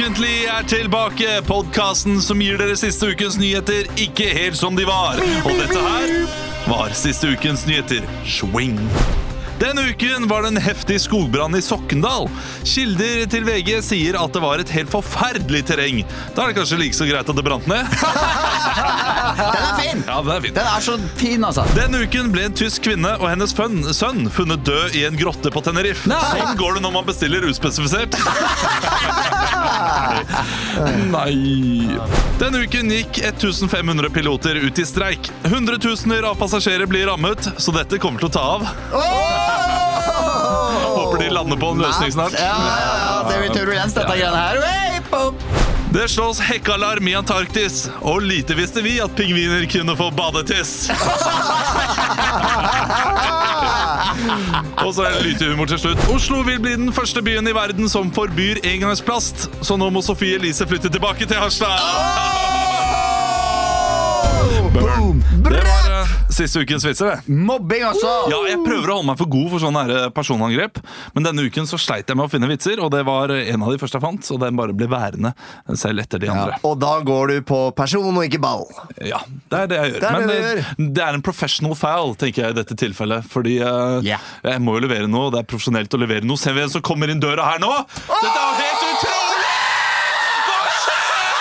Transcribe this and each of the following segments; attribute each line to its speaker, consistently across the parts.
Speaker 1: er tilbake! Podkasten som gir dere siste ukens nyheter ikke helt som de var. Og dette her var siste ukens nyheter. Swing. Denne uken var det en heftig skogbrann i Sokndal. Kilder til VG sier at det var et helt forferdelig terreng. Da er det kanskje like så greit at det brant ned?
Speaker 2: Den er fin!
Speaker 1: Ja, det er fint.
Speaker 2: Den er så fin, altså.
Speaker 1: Denne uken ble en tysk kvinne og hennes fønn- sønn funnet død i en grotte på Tenerife.
Speaker 2: Nei!
Speaker 1: Sånn går det når man bestiller uspesifisert. Nei Denne uken gikk 1500 piloter ut i streik. Hundretusener av passasjerer blir rammet, så dette kommer til å ta av. Håper de lander på en løsning snart.
Speaker 2: Ja, ja, ja, det blir turbulens, dette greiene her. Wey, pop.
Speaker 1: Det slås hekkealarm i Antarktis, og lite visste vi at pingviner kunne få badetiss. og så er det lite humor til slutt. Oslo vil bli den første byen i verden som forbyr engangsplast, så nå må Sofie Elise flytte tilbake til Harstad. Burn. Det var eh, siste ukens vitser, det.
Speaker 2: Mobbing også!
Speaker 1: Ja, jeg prøver å holde meg for god for sånne her eh, personangrep, men denne uken så sleit jeg med å finne vitser, og det var eh, en av de første jeg fant, og den bare ble værende eh, selv etter de andre.
Speaker 3: Og da går du på person og ikke ball.
Speaker 1: Ja, det er det jeg gjør.
Speaker 3: Det er
Speaker 1: Men
Speaker 3: det du
Speaker 1: eh, det er en professional foul, tenker jeg i dette tilfellet. Fordi eh,
Speaker 2: Ja.
Speaker 1: jeg må jo levere noe, og det er profesjonelt å levere noe. Ser vi hvem som kommer inn døra her nå? Dette er jo helt utrolig! Hva skjer?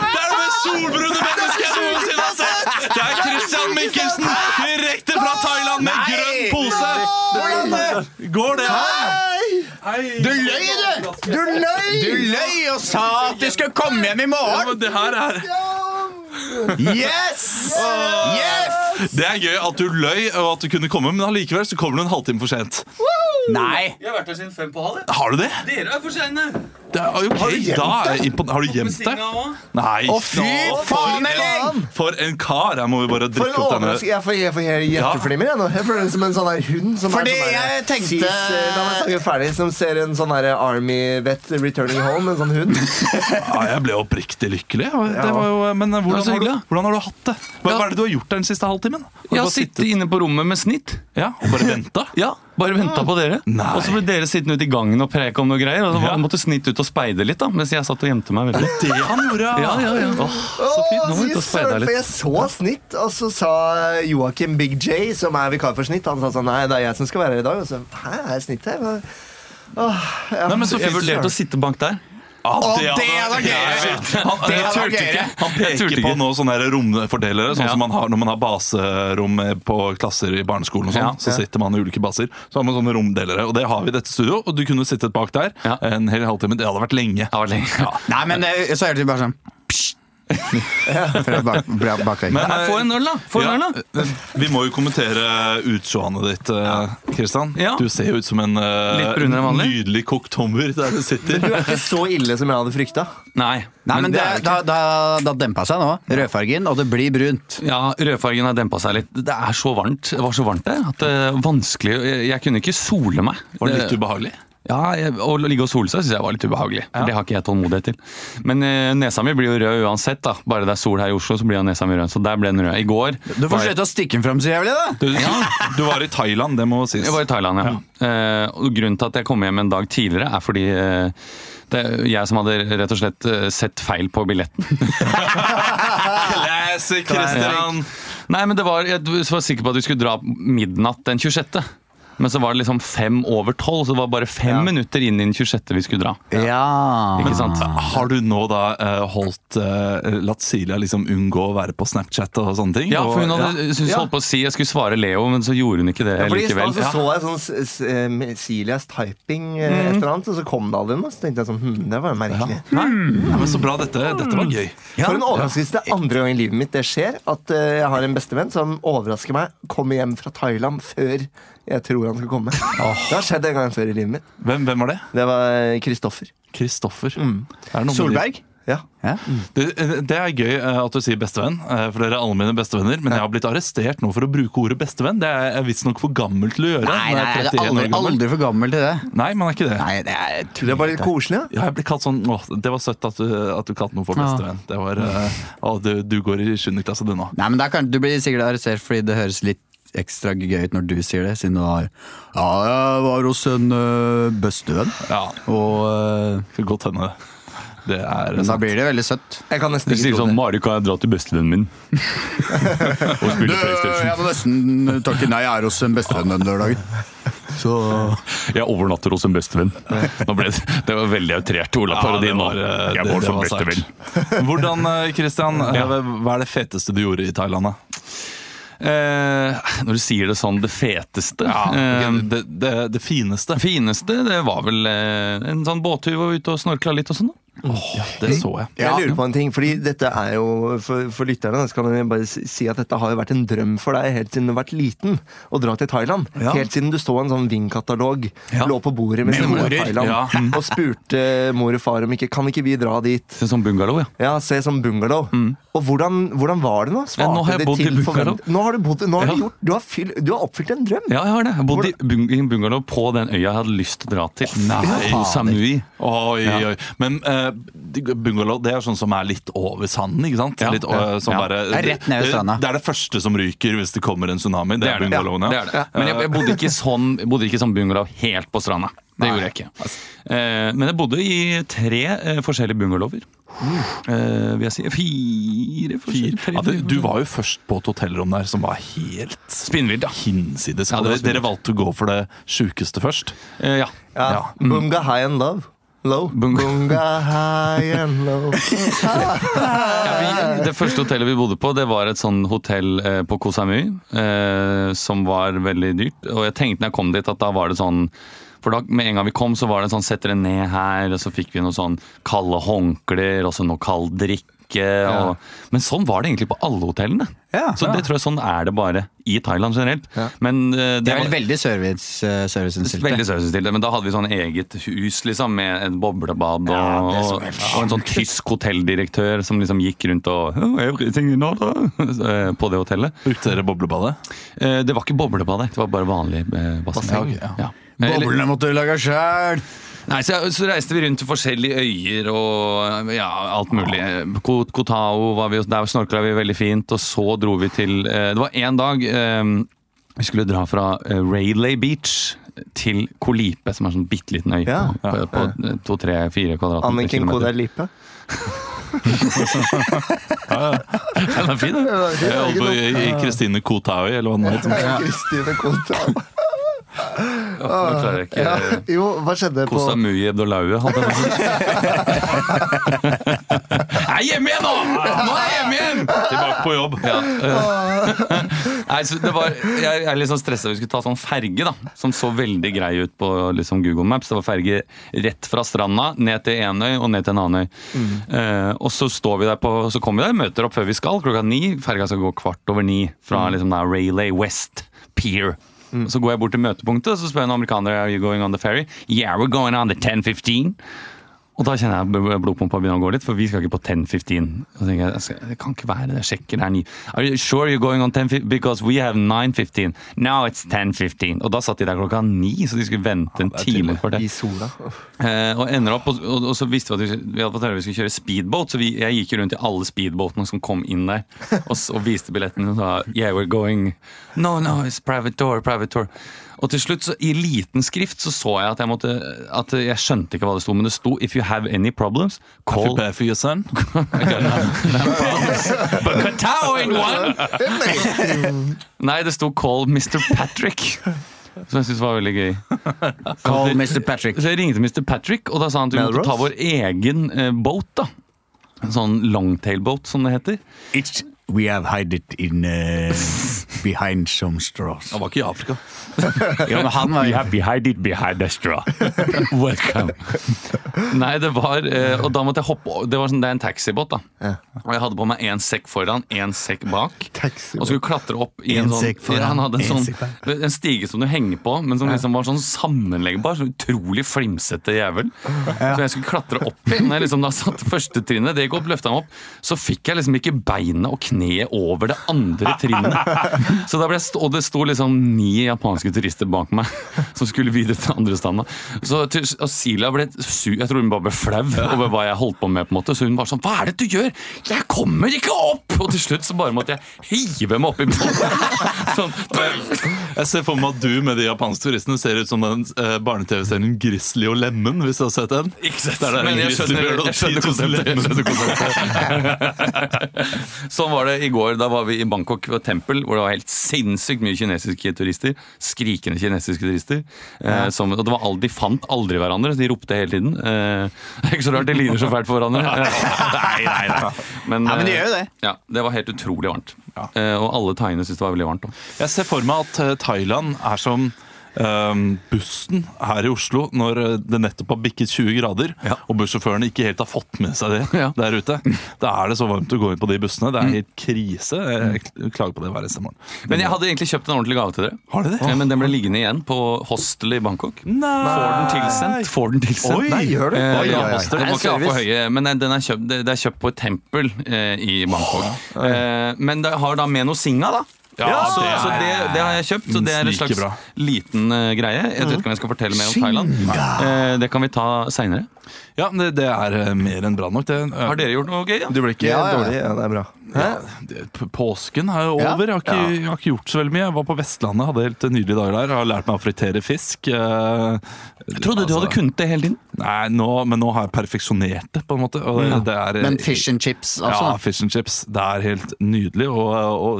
Speaker 1: Det er det mest solbrune mennesket jeg noensinne har sett! Det er Christian Mikkelsen direkte fra Thailand med
Speaker 2: Nei!
Speaker 1: grønn pose! Hvordan det- Går det her? Du
Speaker 2: løy, du!
Speaker 3: Du løy!
Speaker 2: Du løy og sa at du skulle komme hjem i
Speaker 1: Ja,
Speaker 2: morgen!
Speaker 1: men det her er
Speaker 2: Yes! Yes!
Speaker 1: Det er gøy at du løy og at du kunne komme, men allikevel så kommer du en halvtime for sent.
Speaker 2: Nei.
Speaker 4: Jeg har vært her siden fem på halv. jeg.
Speaker 1: Har du det?
Speaker 4: Dere er for seine.
Speaker 1: Det er, ok, har du gjemt det? har du gjemt det? Nei.
Speaker 2: Å, fy
Speaker 1: nå,
Speaker 2: faen,
Speaker 1: for-
Speaker 2: Elling!
Speaker 1: For en kar! Jeg må jo bare
Speaker 3: For en
Speaker 1: drikke opp denne.
Speaker 3: overraskelse. Jeg får, jeg får helt hjerteflimmer jeg nå. Jeg føler det som en sånn der hund som
Speaker 2: Fordi
Speaker 3: er sånn der,
Speaker 2: jeg tenkte-
Speaker 3: Sis, eh, La meg snakke ferdig. Som ser en sånn der Army-vet returning home. En sånn hund.
Speaker 1: Ja, jeg ble oppriktig lykkelig. og Det
Speaker 3: Ja.
Speaker 1: var jo, men hvordan,
Speaker 4: så
Speaker 1: har du,
Speaker 4: hyggelig, da.
Speaker 1: hvordan har du hatt det? Hva,
Speaker 4: Ja.
Speaker 1: hva er det du har gjort den siste halvtimen? Har du
Speaker 4: Jeg har
Speaker 1: bare
Speaker 4: sittet inne på rommet med snitt.
Speaker 1: ja, og bare venta?
Speaker 4: Ja, Bare venta på dere.
Speaker 1: Nei.
Speaker 4: Og så ble dere sittende ute i gangen og preke om noe greier. Og så
Speaker 1: Ja.
Speaker 4: måtte snitt ut og speide litt, da, mens jeg satt og gjemte meg veldig.
Speaker 1: Det han gjorde,
Speaker 4: Ja, ja, ja.
Speaker 3: Å,
Speaker 4: så fint. Nå må
Speaker 3: fy
Speaker 4: vi ut og speide
Speaker 3: søren,
Speaker 4: her
Speaker 3: for
Speaker 4: litt.
Speaker 3: jeg så snitt, og så sa Joakim Big J, som er vikar for snitt, han sa sånn Nei, det er jeg som skal være her i dag. Og så Hæ, er snitt her? Hva- Åh, ja.
Speaker 1: Nei, men så
Speaker 4: Jeg
Speaker 1: fint
Speaker 4: vurderte å sitte bank der.
Speaker 1: Ah,
Speaker 2: Å, det hadde vært gøy.
Speaker 1: Han,
Speaker 2: Det
Speaker 1: jeg
Speaker 2: hadde vært
Speaker 1: turte
Speaker 2: gøy.
Speaker 1: ikke. han
Speaker 4: Jeg turte
Speaker 1: peker på
Speaker 4: ikke.
Speaker 1: nå sånne her romfordelere, sånn
Speaker 4: Ja.
Speaker 1: som man har når man har baserom eh, på klasser i barneskolen. og sånn,
Speaker 4: Ja.
Speaker 1: Så sitter man i ulike baser. Så har man sånne romdelere, og det har vi i dette studio. Og du kunne sittet bak der
Speaker 4: Ja.
Speaker 1: en hel halvtime. Det hadde vært lenge.
Speaker 4: Jeg var lenge.
Speaker 2: Nei, men det- så hørte vi bare sånn psj. Fra bak- bra- bakveggen.
Speaker 1: Men,
Speaker 4: Nei, Få en øl, da! Få en øl da
Speaker 1: Eh, Ja, eh, vi må jo kommentere utseendet ditt, eh, Kristian.
Speaker 4: Ja.
Speaker 1: Du ser jo ut som en eh,
Speaker 4: Litt brunere enn vanlig.
Speaker 1: nydelig kokt hummer der du sitter.
Speaker 3: Du er ikke så ille som jeg hadde frykta.
Speaker 4: Nei,
Speaker 2: Nei, men det,
Speaker 4: er jo
Speaker 2: da, da, da dempa seg nå rødfargen, og det blir brunt.
Speaker 4: Ja, rødfargen har dempa seg litt. Det er så varmt. Det var så varmt der at det er vanskelig Jeg, jeg kunne ikke sole meg.
Speaker 1: Var det
Speaker 4: Det-
Speaker 1: litt ubehagelig?
Speaker 4: Ja, jeg, Å ligge og sole seg syns jeg var litt ubehagelig. For Det har ikke jeg tålmodighet til. Men eh, nesa mi blir jo rød uansett. da Bare det er sol her i Oslo, så blir jo nesa mi rød. Så der ble den rød. I går
Speaker 2: Du får
Speaker 4: var
Speaker 2: slutte å stikke den fram så jævlig, da!
Speaker 1: Du, du var i Thailand, det må sies.
Speaker 4: Jeg var i Thailand, ja. Eh, og grunnen til at jeg kom hjem en dag tidligere, er fordi eh, det er jeg som hadde rett og slett eh, sett feil på billetten.
Speaker 1: Classic, Kristian!
Speaker 4: Nei, men det var, Jeg var sikker på at vi skulle dra midnatt den 26. Men så var det liksom fem over tolv, så det var bare fem minutter inn i den 26. vi skulle dra.
Speaker 2: Ja. Ah.
Speaker 4: Ikke sant?
Speaker 1: Har du nå da eh, holdt eh, Latt Silja liksom unngå å være på Snapchat og sånne ting?
Speaker 4: Ja, for hun
Speaker 1: Og-
Speaker 4: hadde
Speaker 1: ja.
Speaker 4: syntes hun holdt på å si jeg skulle svare Leo, men så gjorde hun ikke det
Speaker 3: Fordi I
Speaker 4: likevel.
Speaker 3: stad så,
Speaker 4: Ja.
Speaker 3: så jeg sånn s- s- eh, Silias typing, eh,
Speaker 4: Mm.
Speaker 3: et eller annet, og så kom det aldri noe. Så tenkte jeg sånn Hm, det var merkelig.
Speaker 1: Nei,
Speaker 2: Hmm.
Speaker 1: ja, men Så bra. Dette, dette var gøy.
Speaker 3: For en overraskelse. Det er andre gang i livet mitt det skjer at eh, jeg har en bestevenn som overrasker meg, kommer hjem fra Thailand før jeg tror han skal komme. Det har skjedd en gang før i livet mitt.
Speaker 1: Hvem, hvem var det?
Speaker 3: Det var Kristoffer.
Speaker 1: Kristoffer.
Speaker 2: Hmm. Solberg?
Speaker 3: Ja.
Speaker 2: Ja.
Speaker 1: Det, det er gøy eh, at du sier bestevenn, eh, for dere er alle mine bestevenner. Men jeg har blitt arrestert nå for å bruke ordet bestevenn. Det er jeg visstnok for gammel til å gjøre.
Speaker 2: Nei,
Speaker 1: når jeg
Speaker 2: nei,
Speaker 1: er
Speaker 2: det er
Speaker 1: 31 år
Speaker 2: aldri,
Speaker 1: gammel.
Speaker 2: aldri for gammel til det.
Speaker 1: Nei, man er ikke det.
Speaker 2: Nei, det er
Speaker 3: Det var litt koselig, ja.
Speaker 1: Ja, jeg ble kalt sånn, åh, Det var søtt at du, at du kalte noen for bestevenn. Det var, eh, «Å, du, du går i 7. klasse, du nå.
Speaker 2: Nei, men der kan, Du blir sikkert arrestert fordi det høres litt ekstra gøy ut når du sier det, siden du var Ja, jeg var hos en ø, eh, bestevenn,
Speaker 1: Ja,
Speaker 2: og ø,
Speaker 1: Skal godt hende. Det er
Speaker 2: Men da
Speaker 1: sant.
Speaker 2: blir det veldig søtt.
Speaker 3: Jeg kan nesten
Speaker 4: Du
Speaker 3: ikke
Speaker 4: sier
Speaker 3: tro
Speaker 4: sånn
Speaker 3: det.
Speaker 4: 'Mari, kan jeg dra til bestevennen min?' og spille PlayStation.
Speaker 2: må nesten takke nei, jeg er hos en bestevenn den lørdagen. Så
Speaker 4: Jeg overnatter hos en bestevenn. Nå ble det, det var veldig outrert Olav-parodien.
Speaker 1: Ja,
Speaker 4: nå.
Speaker 1: det var, eh,
Speaker 4: jeg
Speaker 1: det-
Speaker 4: går
Speaker 1: det
Speaker 4: som
Speaker 1: var sterkt.
Speaker 4: bestevenn.
Speaker 1: Hvordan, eh, Christian, eh,
Speaker 4: Ja.
Speaker 1: hva er det feteste du gjorde i Thailand? da?
Speaker 4: Eh, når du sier det sånn, det feteste
Speaker 1: Ok,
Speaker 4: eh,
Speaker 1: det, det, det fineste.
Speaker 4: Det fineste det var vel eh, en sånn båttur hvor vi var ute og snorkla litt og sånn. da.
Speaker 1: Det så jeg.
Speaker 3: Jeg lurer på en ting, fordi dette er jo For, for lytterne så kan jeg bare si si at dette har jo vært en drøm for deg helt siden du har vært liten. Å dra til Thailand.
Speaker 1: Ja.
Speaker 3: Helt siden du så en sånn Ving-katalog
Speaker 4: Ja.
Speaker 3: lå på bordet mens du var i
Speaker 4: Memorer.
Speaker 3: Thailand,
Speaker 4: Ja. Mm.
Speaker 3: og spurte mor og far om ikke Kan ikke vi dra dit?
Speaker 4: En sånn bungalow, ja.
Speaker 3: Ja, se som bungalow. Og hvordan, hvordan var det nå? Svarte
Speaker 4: Mm. Ja, nå har jeg
Speaker 3: det
Speaker 4: bodd i
Speaker 3: til
Speaker 4: bungalow.
Speaker 3: forvent- Nå har du bodd, nå har du
Speaker 4: Ja.
Speaker 3: gjort, du har, fyll, du har oppfylt en drøm.
Speaker 4: Ja, jeg har det. Jeg bodde i bung i en bungalow på den øya jeg hadde lyst til å dra til. Nei, Samui.
Speaker 1: Oi,
Speaker 4: Ja.
Speaker 1: oi. Men eh, bungalow det er sånn som er litt over sanden, ikke sant?
Speaker 4: Ja.
Speaker 1: Litt, eh, som
Speaker 4: Ja.
Speaker 1: bare,
Speaker 2: Det er rett ned ved stranda.
Speaker 1: Det er det første som ryker hvis det kommer en tsunami. Det, er
Speaker 4: det.
Speaker 1: bungalowene.
Speaker 4: Det er det. Men jeg, jeg bodde ikke sånn, jeg bodde ikke sånn bungalow helt på stranda. Det gjorde jeg ikke. Eh, men jeg bodde i tre eh, forskjellige bungalower. Eh, vil jeg si fire
Speaker 1: Fire.
Speaker 4: forskjellige. tre-
Speaker 1: Ja, det, du var jo først på et hotellrom der som var helt
Speaker 4: Spinnvilt, da.
Speaker 1: hinsides.
Speaker 4: Ja, det var
Speaker 1: dere, dere
Speaker 4: spinnvilt.
Speaker 1: valgte å gå for det sjukeste først.
Speaker 4: Eh, ja.
Speaker 3: Ja. Bunga high and love. Low.
Speaker 4: Bunga-
Speaker 3: Bunga high and low.
Speaker 4: Ja, vi, det første hotellet vi bodde på, det var et sånn hotell eh, på Koh Samui, eh, som var veldig dyrt. Og jeg tenkte når jeg kom dit at da var det sånn for da, med en gang vi kom, så var det sånn sett dere ned her, og så fikk vi noen sånn kalde håndklær og så noe kald drikke. Og, Men sånn var det egentlig på alle hotellene.
Speaker 2: Ja,
Speaker 4: så det tror jeg sånn er det bare i Thailand generelt. Men eh, det,
Speaker 2: Det er
Speaker 4: var
Speaker 2: vel veldig service, eh, serviceinnstilt.
Speaker 4: Veldig sausestilt, men da hadde vi sånn eget hus liksom, med en boblebad og, og, og en sånn tysk hotelldirektør som liksom gikk rundt og oh, everything in order eh, på det hotellet.
Speaker 1: Brukte dere boblebadet?
Speaker 4: Eh, Det var ikke boblebadet, det var bare vanlig eh,
Speaker 1: Basseng,
Speaker 4: basseng.
Speaker 1: ja.
Speaker 4: Eh, eller-
Speaker 2: måtte du lage sjæl!
Speaker 4: Nei, så, så reiste vi rundt til forskjellige øyer og ja, alt mulig. Ko- Kotao var vi, og der snorkla vi veldig fint, og så dro vi til eh, Det var én dag eh, vi skulle dra fra eh, Rayleigh Beach til Kolipe, som er en sånn bitte liten øy
Speaker 3: Ja,
Speaker 4: på, på, på to, tre, fire kvadratmeter.
Speaker 3: Anniken
Speaker 4: kilometer.
Speaker 3: Kodal Lipe.
Speaker 4: Den er fin, den.
Speaker 1: Jeg holdt på i- i Kristine Kotaui, eller hva det heter.
Speaker 3: Kristine Kodal.
Speaker 4: Nå klarer jeg ikke
Speaker 3: Ja. Jo, hva skjedde på
Speaker 4: Kosta Mui Ebdolaue hadde den. Jeg er hjemme igjen nå! Nå er jeg hjemme igjen!
Speaker 1: Tilbake på jobb.
Speaker 4: Ja. Nei, så det var, jeg er litt sånn stressa vi skulle ta sånn ferge, da. Som så veldig grei ut på liksom, Google Maps. Det var ferge rett fra stranda, ned til en øy og ned til en annen øy. Eh, og så står vi der på, så kommer vi der, møter opp før vi skal, klokka ni. Ferga skal gå kvart over ni fra liksom, da, Raylay West Pier. Så går jeg bort til møtepunktet så spør jeg en amerikaner Are you going on the ferry. Yeah, we're going on the 1015. Og da kjenner jeg bl- blodpumpa begynner å gå litt, for vi skal ikke på 10.15. Og så tenker jeg, jeg skal- det kan ikke være det, jeg sjekker det er ni. Are you sure you're going on 10.15? Because we have 9.15. Now it's 10.15. Og da satt de der klokka ni, så de skulle vente en time for det.
Speaker 3: I sola. Uff.
Speaker 4: Eh, og ender opp, og, og, og så visste vi at vi, vi hadde fått høre at vi skulle kjøre speedboat, så vi, jeg gikk jo rundt i alle speedboatene som kom inn der, og, s- og viste billetten og sa Yeah, we're going No, no, it's private tour, private tour. Og til slutt, så, i liten skrift, så så jeg at jeg måtte At jeg skjønte ikke hva det sto, men det sto If you have any problems,
Speaker 1: Fy
Speaker 4: call
Speaker 1: bæ for your son.
Speaker 4: But Katao in one! Nei, det sto Call Mr. Patrick. Som jeg syntes var veldig gøy.
Speaker 2: Call Mr. Patrick.
Speaker 4: Så jeg ringte Mr. Patrick, og da sa han at vi måtte
Speaker 3: Melrose?
Speaker 4: ta vår egen eh, båt. da. En sånn longtail-båt, som det heter.
Speaker 2: It's, we have hide it in uh, behind some straws.
Speaker 1: Han var ikke i Afrika.
Speaker 2: Ja, men han var jo
Speaker 4: behind it behind the straw. Welcome. Nei, det var eh, Og da måtte jeg hoppe over. Det, var sånn, det er en taxibåt, da. Og jeg hadde på meg én sekk foran, én sekk bak.
Speaker 3: Taxi.
Speaker 4: Og skulle klatre opp i
Speaker 2: En
Speaker 4: en, sånn
Speaker 2: sekk foran,
Speaker 4: ja, Han hadde en,
Speaker 2: en
Speaker 4: sånn,
Speaker 2: sekk
Speaker 4: en stige som du henger på, men som liksom var sånn sammenleggbar. Så utrolig flimsete jævel. Så jeg skulle klatre opp i. Når jeg liksom da satt første trinnet, det gikk opp, løfta meg opp, så fikk jeg liksom ikke beinet og kneet over det andre trinnet. Så da ble jeg stå, Og det sto liksom ni japanske turister bak meg som skulle videre til andre standa. Så til, og Sila ble su, Jeg tror hun bare ble flau over hva jeg holdt på med, på en måte. Så hun var sånn Hva er det du gjør? Jeg kommer ikke opp! Og til slutt så bare måtte jeg hive meg oppi båten. Sånn,
Speaker 1: Jeg ser for meg at du med de japanske turistene ser ut som den eh, barne-TV-serien Grizzly og Lemmen. hvis du har sett den.
Speaker 4: Ikke sant?
Speaker 1: Der det er en
Speaker 4: Men jeg
Speaker 1: grizzly
Speaker 4: skjønner-
Speaker 1: bjørn og
Speaker 4: jeg skjønner
Speaker 1: 10 000
Speaker 4: konseptet, jeg
Speaker 1: lemmer.
Speaker 4: skjønner sånn var det i går. Da var vi i Bangkok ved et tempel hvor det var helt sinnssykt mye kinesiske turister. Skrikende kinesiske turister. Eh, som, og det var aldri, De fant aldri hverandre, så de ropte hele tiden. Eh, det er ikke så rart de ligner så fælt for hverandre. nei, nei, nei. Men,
Speaker 2: Nei, men de
Speaker 4: eh,
Speaker 2: gjør jo det.
Speaker 4: Ja, det var helt utrolig varmt. Eh, og alle thaiene syntes det var veldig varmt. Da.
Speaker 1: Jeg ser for meg at eh, Thailand er som ehm, bussen her i Oslo når eh, det nettopp har bikket 20 grader,
Speaker 4: Ja.
Speaker 1: og bussjåførene ikke helt har fått med seg det
Speaker 4: Ja. Mm.
Speaker 1: der ute. Da er det så varmt å gå inn på de bussene. Det er helt krise. Jeg kl- klager på det hver eneste morgen.
Speaker 4: Men jeg hadde egentlig kjøpt en ordentlig gave til dere.
Speaker 1: Har du det?
Speaker 4: Eh, Men den ble liggende igjen på hostelet i Bangkok. Får den tilsendt. Får den tilsendt.
Speaker 1: Oi!
Speaker 3: Nei, gjør du?
Speaker 4: Eh,
Speaker 1: Oi,
Speaker 4: vi har
Speaker 1: oi, oi.
Speaker 4: poster,
Speaker 3: Det
Speaker 4: den
Speaker 3: er
Speaker 4: må ikke ha for
Speaker 3: service.
Speaker 4: høye, men den er kjøpt, det det er kjøpt på et tempel eh, i Bangkok. Eh, men det har da med noe singa, da.
Speaker 1: Ja,
Speaker 4: så,
Speaker 1: det er-
Speaker 4: så det, det har jeg kjøpt, så det er en
Speaker 1: Sniker
Speaker 4: slags
Speaker 1: bra. Mm.
Speaker 4: liten eh, greie. Jeg vet ikke om jeg skal fortelle mer om Thailand. Eh, det kan vi ta seinere.
Speaker 1: Ja, men det, det er eh, mer enn bra nok. Det, eh,
Speaker 4: Har dere gjort noe gøy? Ja?
Speaker 3: Du blir ikke
Speaker 2: Ja, ja, ja.
Speaker 3: dårlig. Ja, det er bra.
Speaker 1: det- p- Påsken er jo
Speaker 2: Ja.
Speaker 1: over. Jeg har, ikke, jeg har ikke gjort så veldig mye. Jeg var på Vestlandet, hadde helt nydelige dager der. Har lært meg å fritere fisk. eh, altså, Jeg
Speaker 4: Jeg trodde du hadde kunnet det hele tiden.
Speaker 1: Nei, nå, men nå har jeg perfeksjonert det, på en måte. Og det er,
Speaker 2: Men fish and chips,
Speaker 1: Ja,
Speaker 2: altså.
Speaker 1: fish and chips. Det er helt nydelig å,